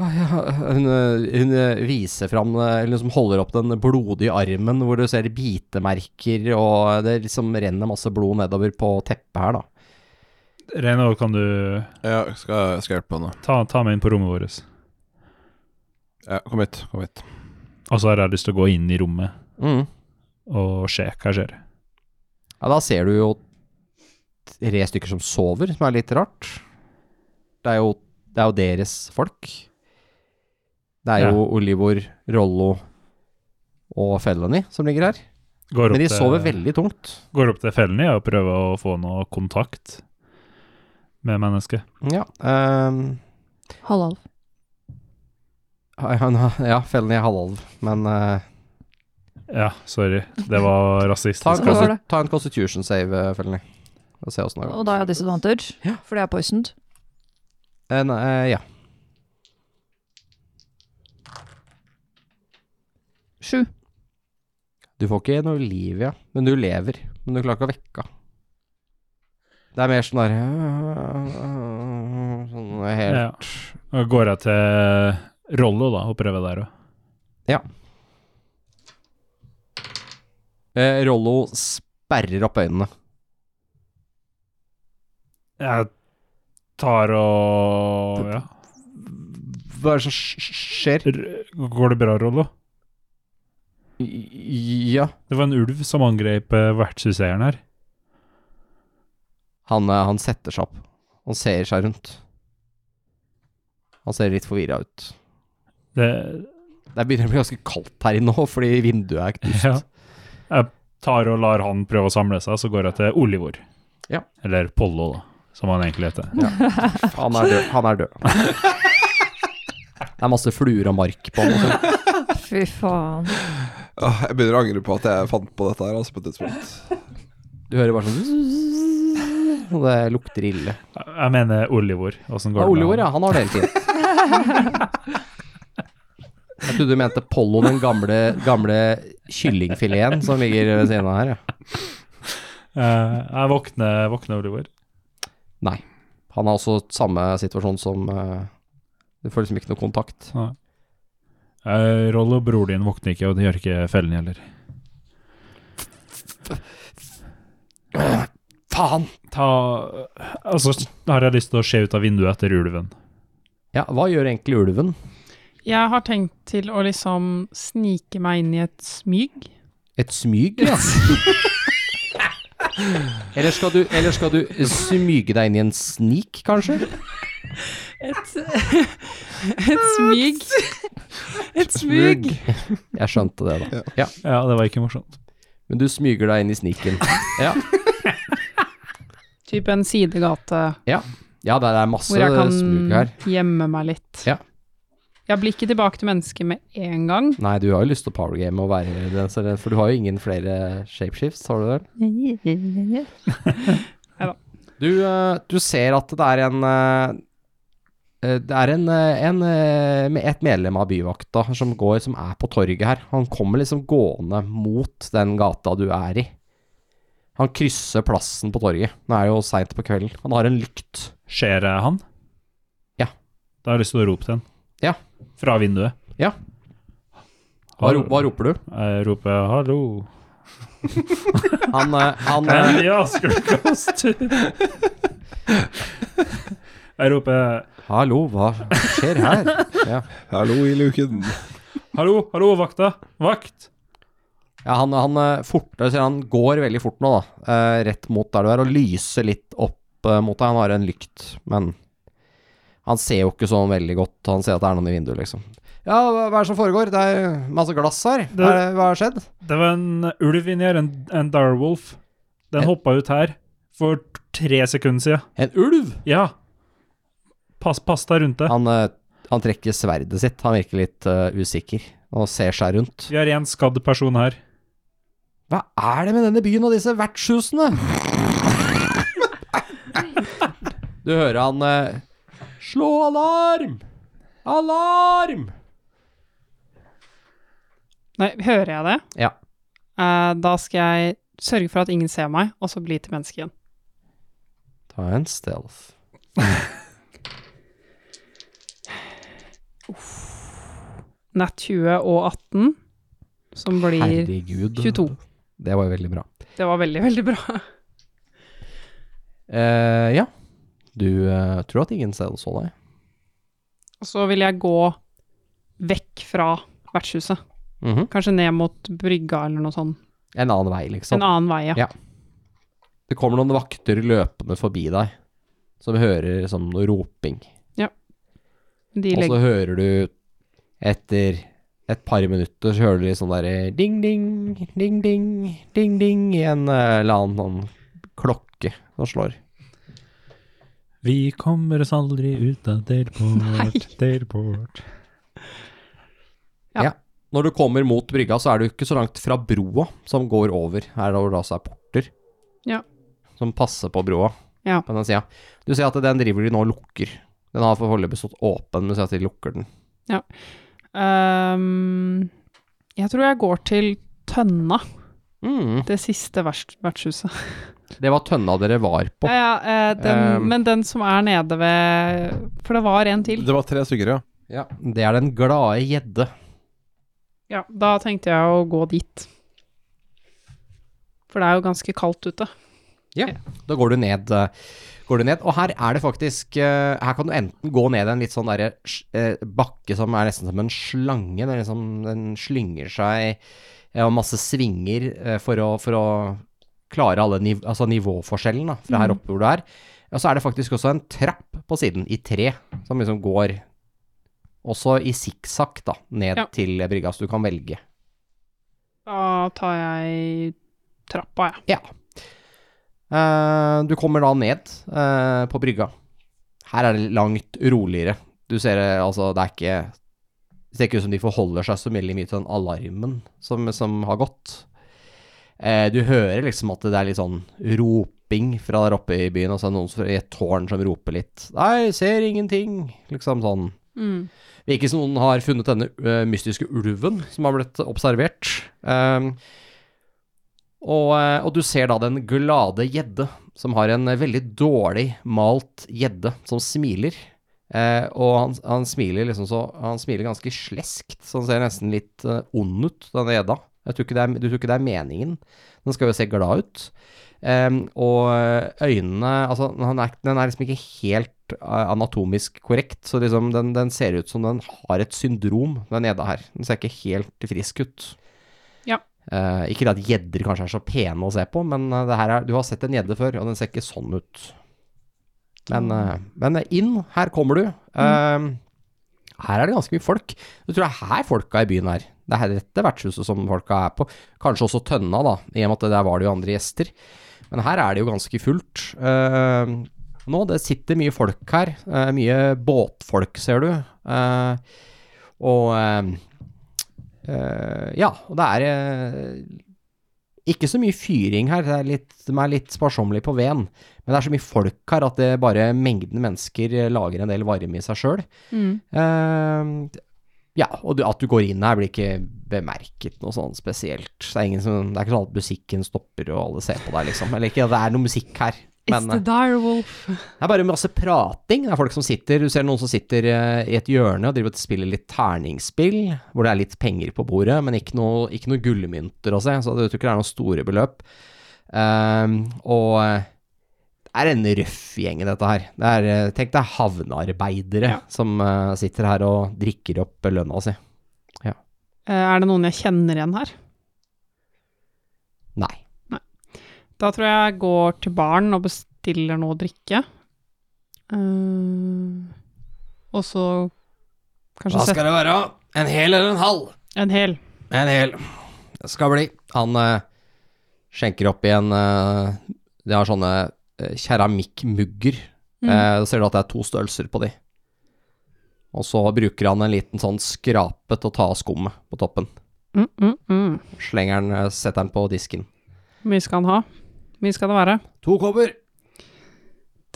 S2: Ah, Ja, hun, eh, hun eh, viser fram, eh, eller liksom holder opp den blodige armen hvor du ser bitemerker, og det liksom renner masse blod nedover på teppet her, da.
S4: Reynold, kan du
S5: Ja, skal, jeg- skal jeg hjelpe henne?
S4: ta, ta meg inn på rommet vårt?
S5: Ja, kom hit. kom hit
S4: Og så har jeg lyst til å gå inn i rommet og se hva skjer.
S2: Ja, da ser du jo tre stykker som sover, som er litt rart. Det er jo, det er jo deres folk. Det er
S4: Ja.
S2: jo Olivor, Rollo og Felony som ligger her.
S4: Går
S2: Men de
S4: til-
S2: sover veldig tungt.
S4: Går opp til fellen i og prøver å få noe kontakt med mennesket.
S2: Ja. ehm,
S3: Halal.
S2: han, ja, Felony er halvalv, men eh,
S4: Ja, sorry. Det var rasistisk.
S2: Ta en,
S3: Så-
S2: consti- ta en constitution save, eh, Felny. Og se åssen det går.
S3: Og da er jeg disadvantage,
S2: Ja.
S3: for det er poisoned.
S2: Eh, nei, eh, ja.
S3: Sju.
S2: Du får ikke noe liv, ja. Men du lever. Men du klarer ikke å vekke henne. Det er mer sånn der Sånn helt
S4: Ja. Og går jeg til Rollo, da, og prøver der òg.
S2: eh, Rollo sperrer opp øynene.
S4: Jeg tar og Ja.
S2: Hva er det som sk- skjer?
S4: R går det bra, Rollo?
S2: Ja.
S4: Det var en ulv som angrep eh, vertshuseieren her.
S2: Han, eh, han setter seg opp. Han ser seg rundt. Han ser litt forvirra ut.
S4: Det,
S2: Det begynner å bli ganske kaldt her inne nå, fordi vinduet er knust.
S4: ja. Jeg tar og lar han prøve å samle seg, så går jeg til Olivor.
S2: Ja.
S4: Eller Pollo, da, som han egentlig heter.
S2: Han er død. Han er død. Det er masse fluer og mark på han. og sånn.
S3: Fy faen.
S5: Åh, Ah, Jeg begynner å angre på at jeg fant på dette her, altså, på et tidspunkt.
S2: Du hører bare sånn Og det lukter ille.
S4: Jeg jeg mener Olivor. Åssen går
S2: Ja,
S4: det med
S2: Olivor, ja.
S4: han?
S2: Han har det hele tiden. Jeg trodde du mente Pollo, den gamle, gamle kyllingfileten som ligger ved siden av her. Ja.
S4: Eh, Jeg våkner, våkner Olivor.
S2: Nei. Han har også samme situasjon som eh, Du får liksom ikke noe kontakt.
S4: Eh, Rollo, bror din våkner ikke, og det gjør ikke fellen heller.
S2: Faen!
S4: Ta Altså, har jeg lyst til å se ut av vinduet etter ulven.
S2: Ja, hva gjør egentlig ulven?
S6: Jeg har tenkt til å liksom snike meg inn i et smyg.
S2: Et smyg, ja. eller, skal du, eller skal du smyge deg inn i en snik, kanskje?
S6: Et, et smyg. Et smyg.
S2: Jeg skjønte det, da. Ja.
S4: Ja, det var ikke morsomt.
S2: Men du smyger deg inn i sniken. Ja,
S6: Type en sidegate
S2: ja det er masse
S6: hvor jeg kan
S2: smug her.
S6: gjemme meg litt.
S2: Ja.
S6: Jeg blir ikke tilbake til mennesket med en gang.
S2: Nei, du har jo lyst til å powergame og være den, så den- for du har jo ingen flere shapeshifts, har du det? Du, eh, du ser at det er en eh, eh, Det er en, eh, en, eh, med- et medlem av byvakta som går, som er på torget her. Han kommer liksom gående mot den gata du er i. Han krysser plassen på torget. Nå er det jo seint på kvelden. Han har en lykt.
S4: Ser jeg han?
S2: Ja.
S4: Da har jeg lyst til å rope til han.
S2: Ja.
S4: Fra vinduet.
S2: Ja. Hva, ro- hva roper du?
S4: Jeg roper 'hallo'.
S2: Han, eh, han eh,
S4: Nei, ja, skulle du kaste Jeg roper
S2: Hallo, hva skjer her? Ja,
S5: Hallo i luken.
S4: 'hallo, hallo, vakta, vakt'.
S2: ja han, han, eh, fort, altså, han går veldig fort nå, da. eh, Rett mot der du er, og lyser litt opp eh, mot deg. Han har en lykt, men han ser jo ikke sånn veldig godt. Han ser at det er noen i vinduet, liksom. Ja, hva hva er det som foregår? Det er masse glass her.
S4: Det-
S2: Hva, er det, hva har skjedd?
S4: Det var en ulv inni her, en, en darwolf. Den
S2: En-
S4: hoppa ut her for tre sekunder siden.
S2: En ulv!
S4: Ja. Pass, pass deg rundt det.
S2: Han, eh, han trekker sverdet sitt. Han virker litt eh, usikker og ser seg rundt.
S4: Vi har én skadd person her.
S2: Hva er det med denne byen og disse vertshusene? Du hører han eh, Slå alarm! Alarm!
S6: Nei, hører jeg det?
S2: Ja.
S6: Eh, da skal jeg sørge for at ingen ser meg, og så bli til menneske igjen.
S2: Ta en stealth.
S6: Nett 20 og 18, som blir
S2: Herregud.
S6: 22.
S2: Det var jo veldig bra.
S6: Det var veldig, veldig bra.
S2: Eh, ja. Du eh, tror at ingen stealth så deg?
S6: Og så vil jeg gå vekk fra vertshuset.
S2: Mhm.
S6: Kanskje ned mot brygga eller noe sånt.
S2: En annen vei, liksom.
S6: En annen vei, ja.
S2: Ja. Det kommer noen vakter løpende forbi deg, som hører som noe roping.
S6: De
S2: Og så
S6: legger
S2: hører du etter et par minutter så hører du litt sånn derre ding-ding, ding-ding, ding-ding i en eh, eller annen sånn klokke som slår.
S4: Vi kommer oss aldri ut av Delport, Delport.
S6: Ja.
S2: Når du kommer mot brygga, så er du ikke så langt fra broa som går over. Her hvor det altså er porter.
S6: Ja.
S2: Som passer på broa
S6: Ja.
S2: på den sida. Du ser at den driver de nå og lukker. Den har foreløpig stått åpen, men du ser at de lukker den.
S6: Ehm, Jeg tror jeg går til tønna
S2: Mm.
S6: Det siste verts- vertshuset.
S2: Det var tønna dere var på.
S6: Ja, ja, eh, den,
S2: Um,
S6: men den som er nede ved For det var en til.
S5: Det var tre stykker, ja.
S2: Ja. Det er den glade gjedde.
S6: Ja, da tenkte jeg å gå dit. For det er jo ganske kaldt ute.
S2: Da går du ned. eh, Går du ned, og her er det faktisk eh, Her kan du enten gå ned en litt sånn derre sj- eh, bakke som er nesten som en slange. Den, liksom, den slynger seg eh, og masse svinger eh, for å, for å klare alle niv altså nivåforskjellen da, fra her oppe hvor du er. Og så er det faktisk også en trapp på siden, i tre, som liksom går også i sikksakk da, ned
S6: Ja.
S2: til brygga, så du kan velge.
S6: Da tar jeg trappa, jeg.
S2: Eh, du kommer da ned eh, på brygga. Her er det langt roligere. Du ser eh, altså, det er ikke Det ser ikke ut som de forholder seg så veldig mye til den alarmen som, som har gått. Eh, du hører liksom at det er litt sånn roping fra der oppe i byen, og så er det noen som- i et tårn som roper litt. Nei, ser ingenting. Liksom sånn.
S6: Mm.
S2: Virker som noen har funnet denne ø, mystiske ulven som har blitt observert. Ehm, og, ø, og du ser da den glade gjedde, som har en ø, veldig dårlig malt gjedde, som smiler. Eh, og han, han smiler liksom så Han smiler ganske sleskt, så han ser nesten litt ø, ond ut, denne gjedda. Jeg tror ikke det er, du tror ikke det er meningen. Den skal jo se glad ut. Ehm, og ø, øynene Altså, han er, den er liksom ikke helt eh, anatomisk korrekt, så liksom den, den ser ut som den har et syndrom, den gjedda her. Den ser ikke helt frisk ut.
S6: Ja.
S2: Eh, ikke det at gjedder kanskje er så pene å se på, men eh, det her er, du har sett en gjedde før, og den ser ikke sånn ut. Men, eh, men inn, her kommer du. Eh, her er det ganske mye folk. Du tror det er her folka i byen er. Det er her dette vertshuset som folka er på. Kanskje også Tønna, da, i og med at der var det jo andre gjester. Men her er det jo ganske fullt. Eh, nå. Det sitter mye folk her. eh, mye båtfolk, ser du. Eh, og eh, eh, Ja, og det er eh, ikke så mye fyring her. Det er litt, de er litt sparsommelig på veden. Men det er så mye folk her at det bare mengden mennesker eh, lager en del varme i seg sjøl.
S6: Mm.
S2: Eh, ja, og du, at du går inn her blir ikke bemerket noe sånn spesielt. Så Det er, ingen som, det er ikke sånn at musikken stopper og alle ser på deg, liksom. Eller ikke at det er noe musikk her.
S6: It's
S2: men, eh,
S6: the direwolf.
S2: det er bare masse prating. Det er folk som sitter, du ser noen som sitter eh, i et hjørne og driver og spiller litt terningspill, hvor det er litt penger på bordet, men ikke noe, ikke noe gullmynter å se, så du tror ikke det er noen store beløp. Ehm, og eh, det er en røff gjeng i dette her. Det er, eh, tenk deg havnearbeidere
S6: Ja.
S2: som eh, sitter her og drikker opp lønna si.
S6: Eh, Er det noen jeg kjenner igjen her?
S2: Nei.
S6: Da tror jeg jeg går til baren og bestiller noe å drikke. Eh, og så kanskje sette
S2: det være? En hel eller en halv?
S6: en hel.
S2: En hel. Det skal bli. Han eh, skjenker opp i en eh, De har sånne eh, keramikkmugger.
S6: Mm.
S2: Eh, da ser du at det er to størrelser på de. Og så bruker han en liten sånn skrape til å ta av skummet på toppen.
S6: Mm, mm, mm.
S2: Slenger den, eh, setter den på disken.
S6: Hvor mye skal han ha? Hvor mye skal det være?
S2: To kopper!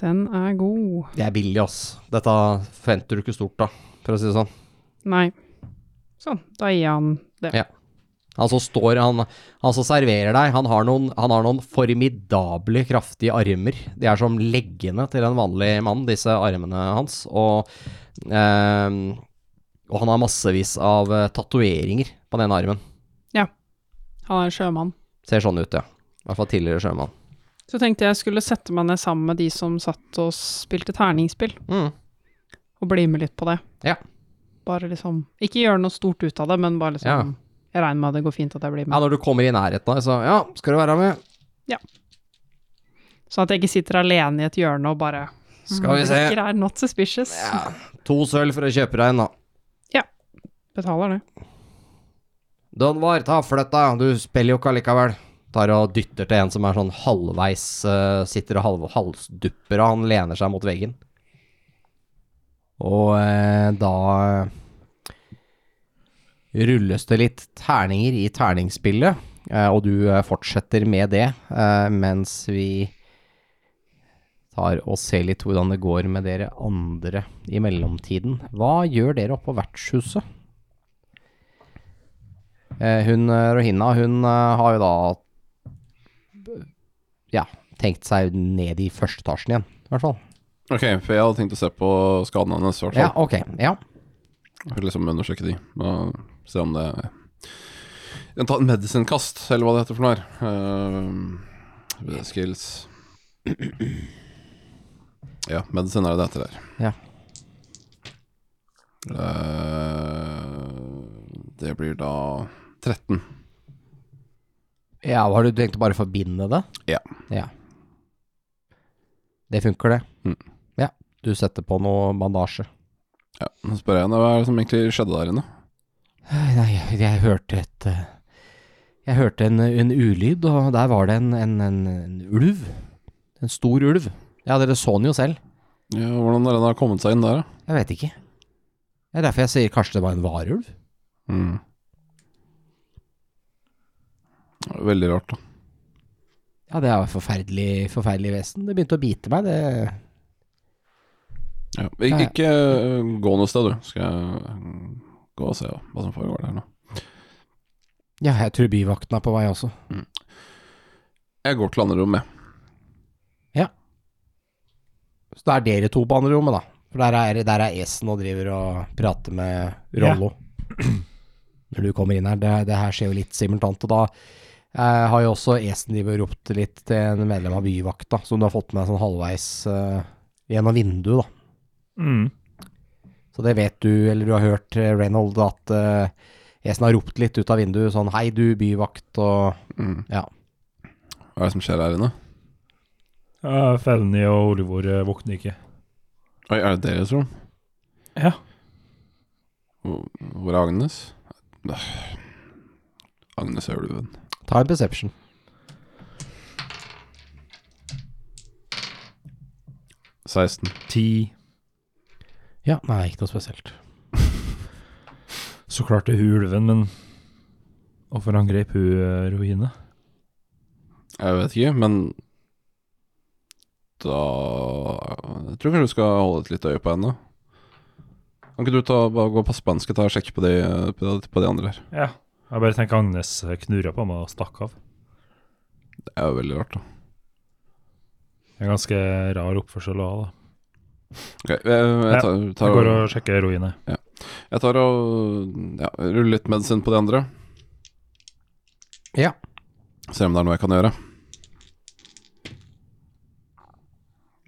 S6: Den er god.
S2: Det er billig, ass. Dette forventer du ikke stort, da, for å si det sånn.
S6: Nei. Sånn, da gir jeg han det.
S2: Ja. Han som står, han, han som serverer deg, han har, noen, han har noen formidable, kraftige armer. De er som leggene til en vanlig mann, disse armene hans. Og, ehm, og han har massevis av eh, tatoveringer på den ene armen.
S6: Han er sjømann.
S2: Ser sånn ut, ja. I hvert fall tidligere sjømann.
S6: Så tenkte jeg skulle sette meg ned sammen med de som satt og spilte terningspill,
S2: Mm.
S6: og bli med litt på det.
S2: Ja.
S6: Bare liksom Ikke gjøre noe stort ut av det, men bare liksom
S2: Ja.
S6: Jeg regner med at det går fint at jeg blir
S2: Ja,
S6: med.
S2: når du kommer i nærheten av, så ja, skal du være med?
S6: Sånn at jeg ikke sitter alene i et hjørne og bare
S2: Skal vi se.
S6: Drikker er not suspicious.
S2: Ja. To sølv for å kjøpe deg en, da.
S6: Betaler det.
S2: Donvar, ta flytt deg, du spiller jo ikke allikevel. Tar og dytter til en som er sånn halvveis eh, Sitter og halv, halvdupper, og han lener seg mot veggen. Og eh, da eh, rulles det litt terninger i terningsspillet, eh, og du eh, fortsetter med det eh, mens vi tar og ser litt hvordan det går med dere andre i mellomtiden. Hva gjør dere oppe på vertshuset? Eh, Hun eh, Rohina, hun eh, har jo da ja, tenkt seg ned i første etasjen igjen, i hvert fall.
S5: Ok, for jeg hadde tenkt å se på skadene hennes, i hvert
S2: Ja,
S5: fall.
S2: ok. Ja.
S5: For liksom undersøke de. Og se om det Jeg kan Ta en medisinkast, eller hva det heter for noe her. Eh, skills Ja, medisin er det det heter der.
S2: Ja.
S5: Eh, det blir da 13.
S2: ja, har du tenkt å bare forbinde det?
S5: Ja.
S2: Ja. Det funker, det.
S5: Mm.
S2: Ja, du setter på noe bandasje.
S5: Ja, Nå spør jeg henne hva er det som egentlig skjedde der inne.
S2: Eh, Nei, jeg, jeg hørte et eh, Jeg hørte en, en ulyd, og der var det en, en, en, en ulv. En stor ulv. Ja, dere så den jo selv.
S5: Ja, hvordan er den har kommet seg inn der, da?
S2: Jeg vet ikke. Det er derfor jeg sier kanskje det var en varulv.
S5: Mm. Det er Veldig rart, da.
S2: Ja, det er jo et forferdelig, forferdelig vesen. Det begynte å bite meg, det
S5: Ja. Ik
S2: Ja, ja.
S5: Ikke øh, gå noe sted, du. Skal jeg øh, gå og se hva hva som foregår der nå.
S2: Ja, jeg tror byvakten er på vei også.
S5: Jeg går til andre rom, jeg.
S2: Så da er dere to på andre rommet, da. For der er, der er Esen og driver og prater med Rollo. Når du kommer inn her. Det, det her skjer jo litt simultant. Og da eh, har jo også Esen driver og ropt litt til en medlem av byvakta, som du har fått med deg sånn halvveis eh, gjennom vinduet, da.
S4: Mm.
S2: Så det vet du, eller du har hørt, eh, Reynold, at eh, Esen har ropt litt ut av vinduet sånn Hei, du, byvakt, og
S5: Mm.
S2: Ja.
S5: Hva er det som skjer her inne?
S4: Ja, Felny og Olivor eh, våkner ikke.
S5: Oi, er det deres rom?
S4: Ja.
S5: Hvor hvor er Agnes? Øh. Agnes er ulven.
S2: ta en perception.
S5: venn 16.
S4: Ti.
S2: Ja, nei, ikke noe spesielt.
S4: Så klarte hun ulven, men Hvorfor angrep hun eh, Rohine?
S5: Jeg vet ikke, men da Jeg tror kanskje du skal holde et litt øye på henne. Kan ikke du ta, bare gå og passe på henne? Skal jeg ta og sjekke på de, på de- på de andre her?
S4: Ja. Jeg bare tenker Agnes knurra på meg og stakk av.
S5: Det er jo veldig rart, da.
S4: Det er ganske rar oppførsel å ha, da.
S5: Ok, jeg, jeg,
S4: Ja,
S5: tar,
S4: Jeg
S5: tar,
S4: går og sjekker Rohine.
S5: jeg tar og ja, ruller litt medisin på de andre.
S2: Ja.
S5: Ser om det er noe jeg kan gjøre.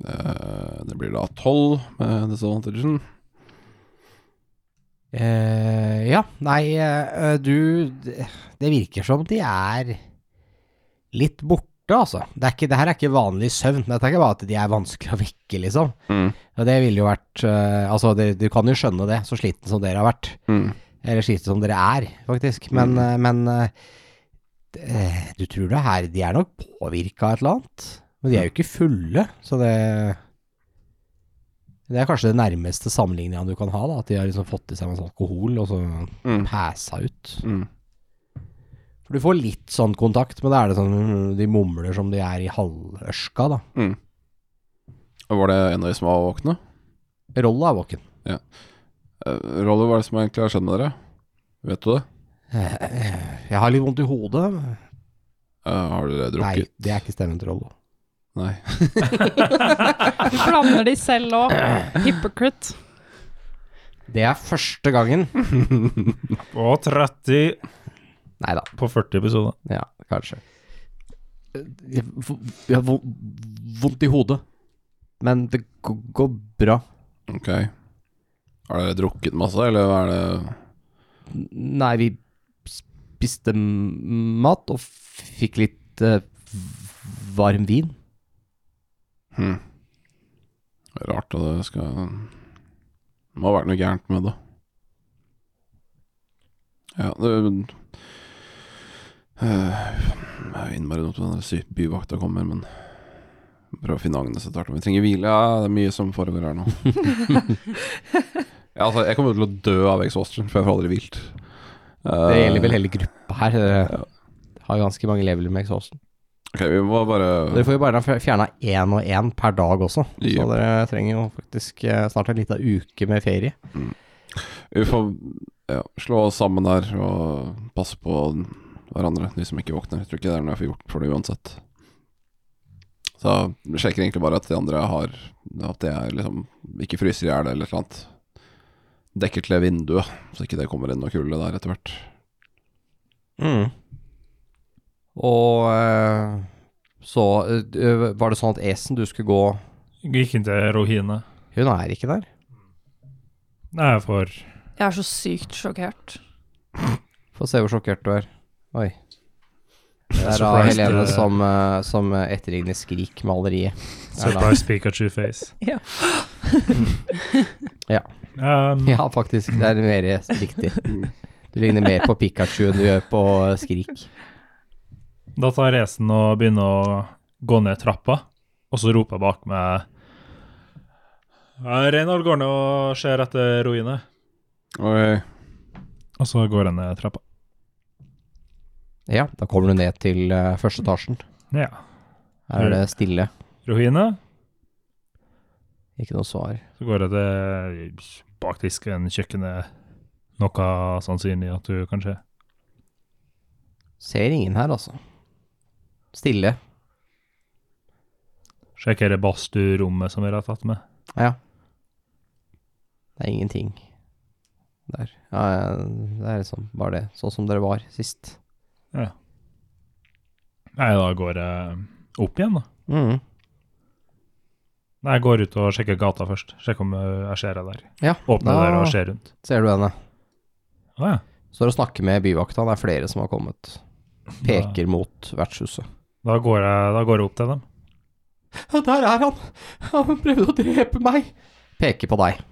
S5: Eh, Det blir da tolv med disadvantagen.
S2: Eh, ja, nei, eh, du Det det virker som de er litt borte, altså. Det, er ikke, det her er ikke vanlig søvn. Dette er ikke bare at de er vanskelig å vekke, liksom.
S5: Mm.
S2: Og det ville jo vært eh, Altså, det, du kan jo skjønne det, så sliten som dere har vært.
S5: Mm.
S2: Eller sliten som dere er, faktisk. Men, eh, men eh, det- eh, du tror det her De er nok påvirka av et eller annet. Men de er jo ikke fulle, så det Det er kanskje det nærmeste sammenligninga du kan ha, da. At de har liksom fått i seg masse alkohol, og så
S5: Mm.
S2: pæsa ut.
S5: Mm.
S2: For du får litt sånn kontakt, men da er det sånn mm, de mumler som de er i halvørska, da.
S5: Mm. Og Var det en av de som var våkne?
S2: Rolla er våken.
S5: Eh, Rollo, hva er det som egentlig har skjedd med dere? Vet du det?
S2: Eh, Jeg har litt vondt i hodet.
S5: Eh, har
S2: Nei,
S5: dere drukket?
S2: det er ikke stemmen til Rollo.
S5: Nei.
S6: Du blander de selv òg. Hypocrite.
S2: Det er første gangen.
S4: Og 30
S2: Nei da,
S4: på 40 episoder.
S2: ja, kanskje. Jeg jeg har vo- vondt i hodet, men det g- går bra.
S5: Ok. Har dere drukket masse, eller hva er det
S2: Nei, vi spiste m- mat og fikk litt eh, varm vin.
S5: Hm. Rart at det skal Det må ha vært noe gærent med det. Ja, det Eh, Jeg er innmari dumt når den sy- byvakta kommer, men prøv å finne Agnes etter hvert. om Vi trenger hvile. Ja, det er mye som foregår her nå. ja, altså, jeg kommer jo til å dø av exhaustion, for jeg får aldri hvilt. Eh,
S2: Det gjelder vel hele gruppa her. Dere har ganske mange leveler med exhausten.
S5: Ok, vi må bare
S2: Dere får jo bare fjerna én og én per dag også, så
S5: Yep.
S2: dere trenger jo faktisk eh, snart en liten uke med ferie.
S5: Vi får ja, slå oss sammen der og passe på hverandre, de som ikke våkner. Jeg tror ikke det er noe jeg får gjort for det uansett. Så jeg sjekker egentlig bare at de andre har At det er liksom ikke fryser i hjel eller et eller annet. Dekker til vinduet, så ikke det kommer inn noe kulde der etter hvert.
S2: Mm. Og eh, så eh, var det sånn at Esen du skulle gå
S4: Gikk inn til Rohine.
S2: Hun er ikke der.
S4: Nei, for
S3: Jeg er så sykt sjokkert.
S2: Få se hvor sjokkert du er. Oi. Det er da
S4: surprised,
S2: Helene
S4: eh,
S2: som, eh, som etterligner Skrik-maleriet. Er da-
S4: Surprise Pikachu-face.
S3: Ja.
S2: Ja.
S4: Um,
S2: Ja, faktisk. Det er mer riktig. Du ligner mer på Pikachu enn du gjør på eh, Skrik.
S4: Da tar Esen og begynner å gå ned trappa, og så roper jeg bak meg «Ja, Reynold går ned og ser etter ruinene.
S5: Oi.
S4: Og så går jeg ned trappa.
S2: Ja, da kommer du ned til eh, første etasjen.
S4: Ja.
S2: Her er det stille.
S4: Ruine.
S2: Ikke noe svar.
S4: Så går jeg til bakdisken, kjøkkenet. Noe sannsynlig at du kan se.
S2: Ser ingen her, altså. Stille.
S4: Sjekker det badstuerommet som vi har tatt med.
S2: Ja. Det er ingenting der. Ja, ja, det er liksom bare det. Sånn som dere var sist.
S4: Nei, da går jeg opp igjen, da.
S2: Mm.
S4: Nei, jeg går ut og sjekker gata først. Sjekker om eh, jeg ser henne der.
S2: Ja,
S4: Åpner
S2: da
S4: der og ser rundt.
S2: ser du henne.
S4: Å ja.
S2: Står og snakker med byvakta. Det er flere som har kommet. Peker mot vertshuset.
S4: Da går jeg, da går jeg opp til dem.
S2: Ja, der er han! Han prøvde å drepe meg! Peker på deg.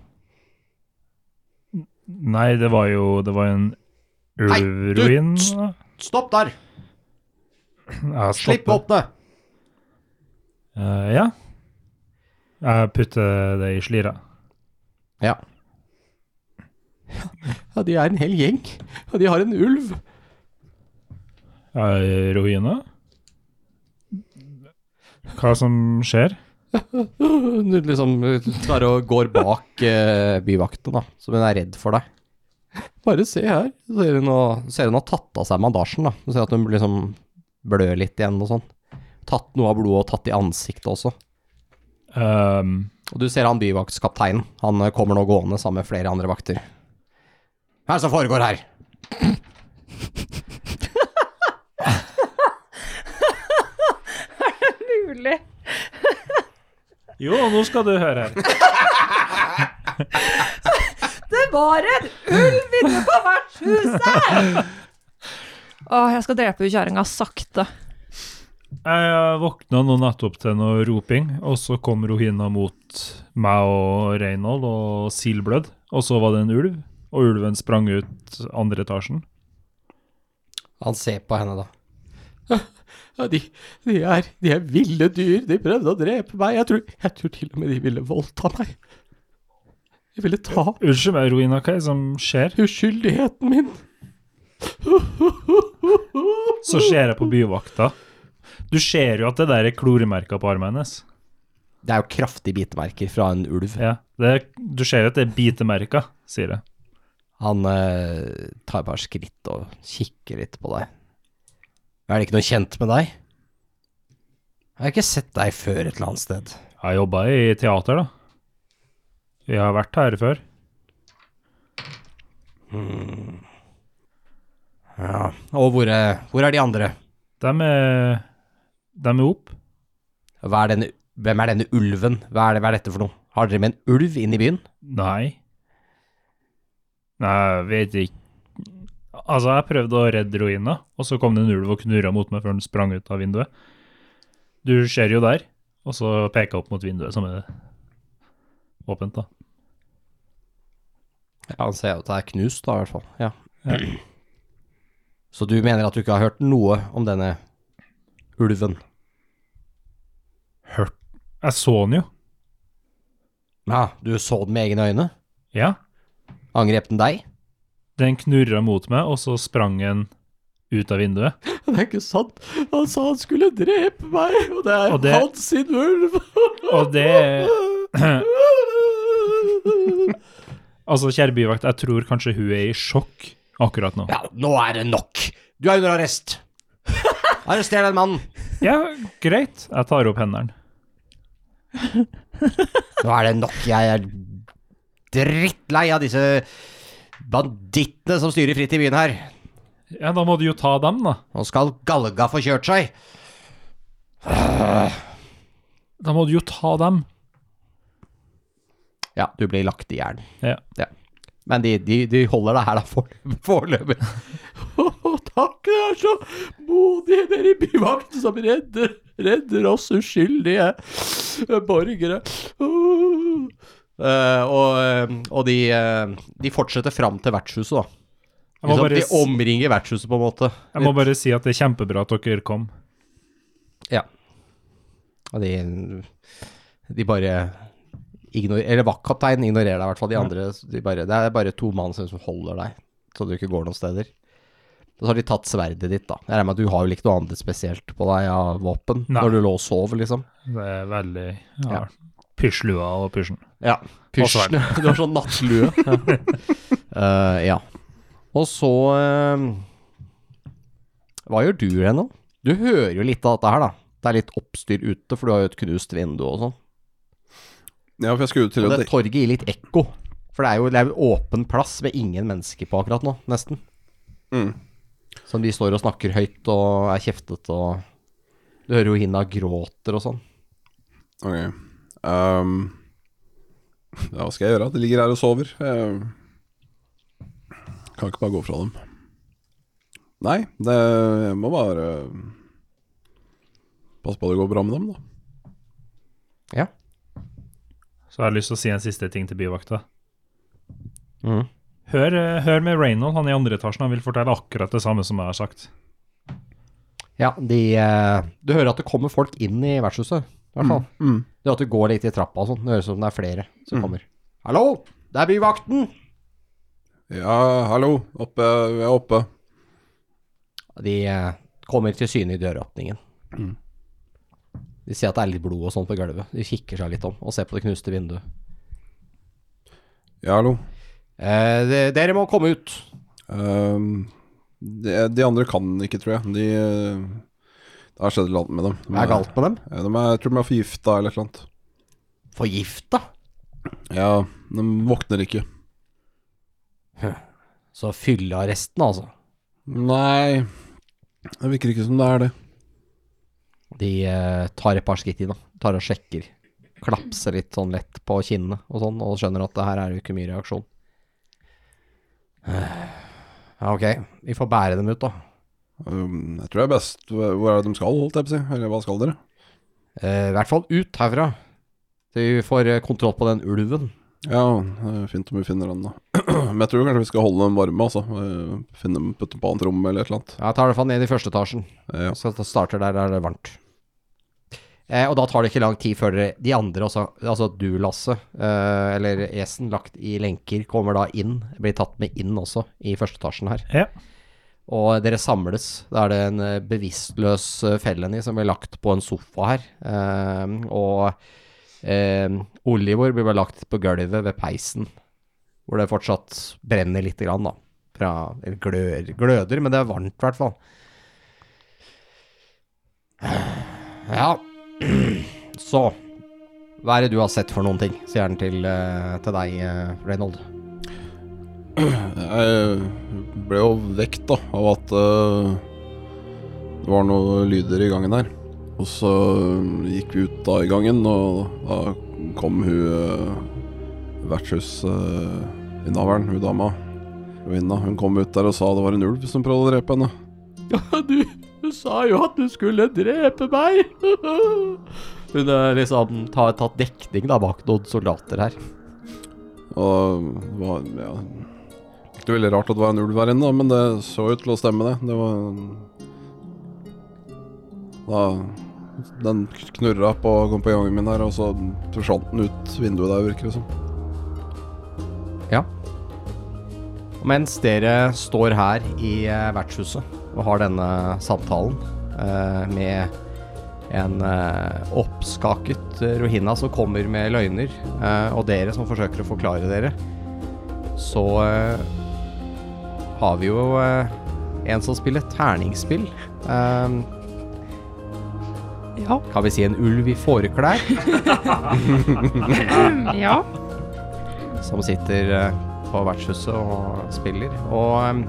S4: Nei, det var jo det var en
S2: Nei, du-
S4: ulveruin. da.
S2: Stopp der!
S4: Jeg
S2: Slipp
S4: stopper.
S2: våpenet!
S4: Eh, ja. Jeg putter det i slira.
S2: Ja. Ja, de er en hel gjeng. Og de har en ulv.
S4: Eh, Ruina? Hva som skjer?
S2: Hun liksom klarer å går bak eh, byvakten, da, som hun er redd for deg. Bare se her. Så Ser hun, og, ser hun har tatt av seg mandasjen, da. Du ser at hun liksom blør litt igjen og sånn. Tatt noe av blodet og tatt i ansiktet også.
S4: Ehm,
S2: Og du ser han byvaktskapteinen. Han eh, kommer nå gående sammen med flere andre vakter. Hva er det som foregår her?
S3: Mulig.
S4: jo, nå skal du høre her.
S3: Det var en ulv inne på vertshuset! Å, jeg skal drepe hun kjerringa sakte.
S4: Jeg våkna nå nettopp til noe roping, og så kom Rohina mot meg og Reynold og Silblødd. Og så var det en ulv, og ulven sprang ut andre etasjen.
S2: Han ser på henne, da. Ja, de, de, er, de er ville dyr. De prøvde å drepe meg. Jeg tror, jeg tror til og med de ville voldta meg. De ville ta
S4: Unnskyld meg, Rohina, hva er det som skjer?
S2: uskyldigheten min.
S4: Så ser jeg på byvakta. Du ser jo at det der er kloremerker på armen hennes.
S2: Det er jo kraftige bitemerker fra en ulv.
S4: Ja, det, du ser jo at det er bitemerker, sier jeg.
S2: Han eh, tar bare skritt og kikker litt på deg. Er det ikke noe kjent med deg? Jeg har ikke sett deg før et eller annet sted.
S4: Jeg jobba i teater, da. Vi har vært her før.
S2: Ja. Og hvor, eh, hvor er de andre?
S4: De er, de er opp.
S2: Hva er denne, hvem er denne ulven? Hva er, det, hva er dette for noe? Har dere med en ulv inn i byen?
S4: Nei. Nei, jeg vet ikke Altså, jeg prøvde å redde ruina, og så kom det en ulv og knurra mot meg før den sprang ut av vinduet. Du ser jo der, og så peker jeg opp mot vinduet, som er åpent, da.
S2: Ja, han ser jo at det er knust, da, i hvert fall. Ja. Så du mener at du ikke har hørt noe om denne ulven?
S4: Hørt Jeg så den jo.
S2: Ja, du så den med egne øyne?
S4: Ja.
S2: Angrep den deg?
S4: Den knurra mot meg, og så sprang den ut av vinduet.
S2: Det er ikke sant. Han sa han skulle drepe meg, og det er
S4: Og det-
S2: hans sin ulv.
S4: Og det Altså, kjære byvakt, jeg tror kanskje hun er i sjokk akkurat nå.
S2: Ja, nå er det nok. Du er under arrest. Arrester den mannen.
S4: Ja, greit. Jeg tar opp hendene.
S2: Nå er det nok. Jeg er drittlei av disse bandittene som styrer fritt i byen her.
S4: Ja, da må du jo ta dem, da.
S2: Nå skal galga få kjørt seg.
S4: Da må du jo ta dem.
S2: Ja, du blir lagt i jern.
S4: Ja.
S2: Men de, de, de holder deg her da for- foreløpig.
S7: Å, takk, dere er så modige, dere i byvakten som redder, redder oss uskyldige eh, borgere. Åh.
S2: Eh, og eh, og de, eh, de fortsetter fram til vertshuset, da.
S4: Jeg må,
S2: Liksom,
S4: bare,
S2: de
S4: s-
S2: omringer vertshuset, på en måte.
S4: jeg må bare si at det er kjempebra at dere kom.
S2: Og de, de bare ignorer, Eller vaktkapteinen ignorerer deg, i hvert fall. De andre de bare, Det er bare to mann som som holder deg, så du ikke går noen steder. Og så har de tatt sverdet ditt, da. Jeg regner med at du har jo ikke noe annet spesielt på deg av våpen
S4: Nei.
S2: når du lå og sov, liksom.
S4: Det er veldig ja,
S2: Ja.
S4: Pyslua og pysjen.
S2: Ja. Pysjen. Du har sånn nattlue. Eh, ja. Og så eh, Hva gjør du igjen nå? Du hører jo litt av dette her, da. Det er litt oppstyr ute, for du har jo et knust vindu og sånn.
S5: Ja, for jeg skulle jo til
S2: Og
S5: å
S2: det
S5: dek-
S2: torget gir litt ekko. For det er jo det er jo åpen plass med ingen mennesker på akkurat nå, nesten.
S5: Mm.
S2: Som de står og snakker høyt og er kjeftete og Du hører jo Hina gråter og sånn.
S5: Ok. Ehm, ja, hva skal jeg gjøre? De ligger her og sover. Jeg kan ikke bare gå fra dem. Nei, det jeg må bare Passe på at det går bra med dem, da.
S4: Så jeg har lyst til å si en siste ting til byvakta. Hør, eh, hør med Reynold, han i andre etasjen. Han vil fortelle akkurat det samme som jeg har sagt.
S2: Ja, de eh, Du hører at det kommer folk inn i vertshuset, i hvert fall. Det er at du går litt i trappa og sånn. Det høres ut som det er flere som kommer. Hallo! Det er byvakten!
S5: Ja, hallo. Oppe. Jeg er oppe.
S2: De eh, kommer til syne i døråpningen. Mm. De ser at det er litt blod og sånn på gulvet. De kikker seg litt om og ser på det knuste vinduet.
S5: Ja, hallo.
S2: Eh, de, dere må komme ut.
S5: Ehm, de, de andre kan ikke, tror jeg. De eh, Det har skjedd noe med dem. De
S2: Hva er galt med dem?
S5: Ja, De er, jeg tror de er forgifta eller et eller annet.
S2: Forgifta?
S5: Ja, de våkner ikke.
S2: Så fyllearresten, altså.
S5: Nei, det virker ikke som det er det.
S2: De eh, tar et par skritt inn, da. Tar og sjekker. Klapser litt sånn lett på kinnene og sånn, og skjønner at det her er jo ikke mye reaksjon. Ja, ok. Vi får bære dem ut, da.
S5: Um, jeg tror det er best Hvor er det de skal, holdt jeg på å si? Eller hva skal dere?
S2: Eh, I hvert fall ut herfra. Så vi får eh, kontroll på den ulven.
S5: Ja, eh, fint om vi finner den, da. Men jeg tror kanskje vi skal holde dem varme, altså. Eh, Finne dem, putte dem på annet rom eller et eller annet.
S2: Ja, Jeg tar det faen ned i første etasjen.
S5: Eh, Ja.
S2: Så da starter der er det varmt. Eh, og da tar det ikke lang tid før dere- de andre, også, altså du, Lasse, eh, eller Esen, lagt i lenker, kommer da inn, blir tatt med inn også, i første etasjen her.
S4: Ja.
S2: Og dere samles. Da er det en eh, bevisstløs eh, felleni som blir lagt på en sofa her. Eh, og eh, Olivor blir bare lagt på gulvet ved peisen, hvor det fortsatt brenner lite grann, da. Fra, eller glør, gløder, men det er varmt i hvert fall. Ja, så Hva er det du har sett for noen ting? Sier han til, eh, til deg, eh, Reynold.
S5: Jeg ble jo vekt, da, av at eh, det var noen lyder i gangen her. Og så eh, gikk vi ut da i gangen, og da kom hun eh, vertshusinnehaveren, hun dama. Rovinda. Hun kom ut der og sa det var en ulv som prøvde å drepe henne.
S7: Ja, du, du sa jo at du skulle drepe meg.
S2: Hun har liksom ta, tatt dekning da bak noen soldater her.
S5: Og det var ja, ikke veldig rart at det var en ulv her inne, da, men det så ut til å stemme, det. Det var da, Den knurra på, kom på gangen min her, og så forsvant den ut vinduet der, virker det som.
S2: Og Mens dere står her i eh, vertshuset og har denne samtalen eh, med en eh, oppskaket eh, rohina som kommer med løgner, eh, og dere som forsøker å forklare dere, så eh, har vi jo eh, en som spiller terningspill. Eh,
S6: Ja.
S2: Kan vi si en ulv i fåreklær?
S6: ja.
S2: som sitter eh, på vertshuset og spiller. Og em,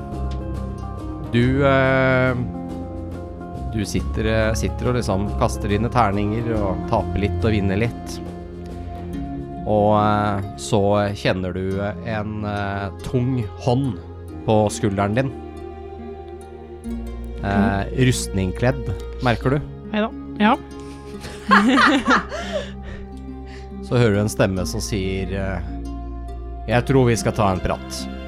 S2: du eh, Du sitter, eh, sitter og liksom kaster dine terninger og taper litt og vinner litt. Og eh, så kjenner du eh, en eh, tung hånd på skulderen din. Eh, rustningkledd, merker du.
S6: Neida. Ja.
S2: Så hører du en stemme som sier eh, Jeg tror vi skal ta en prat.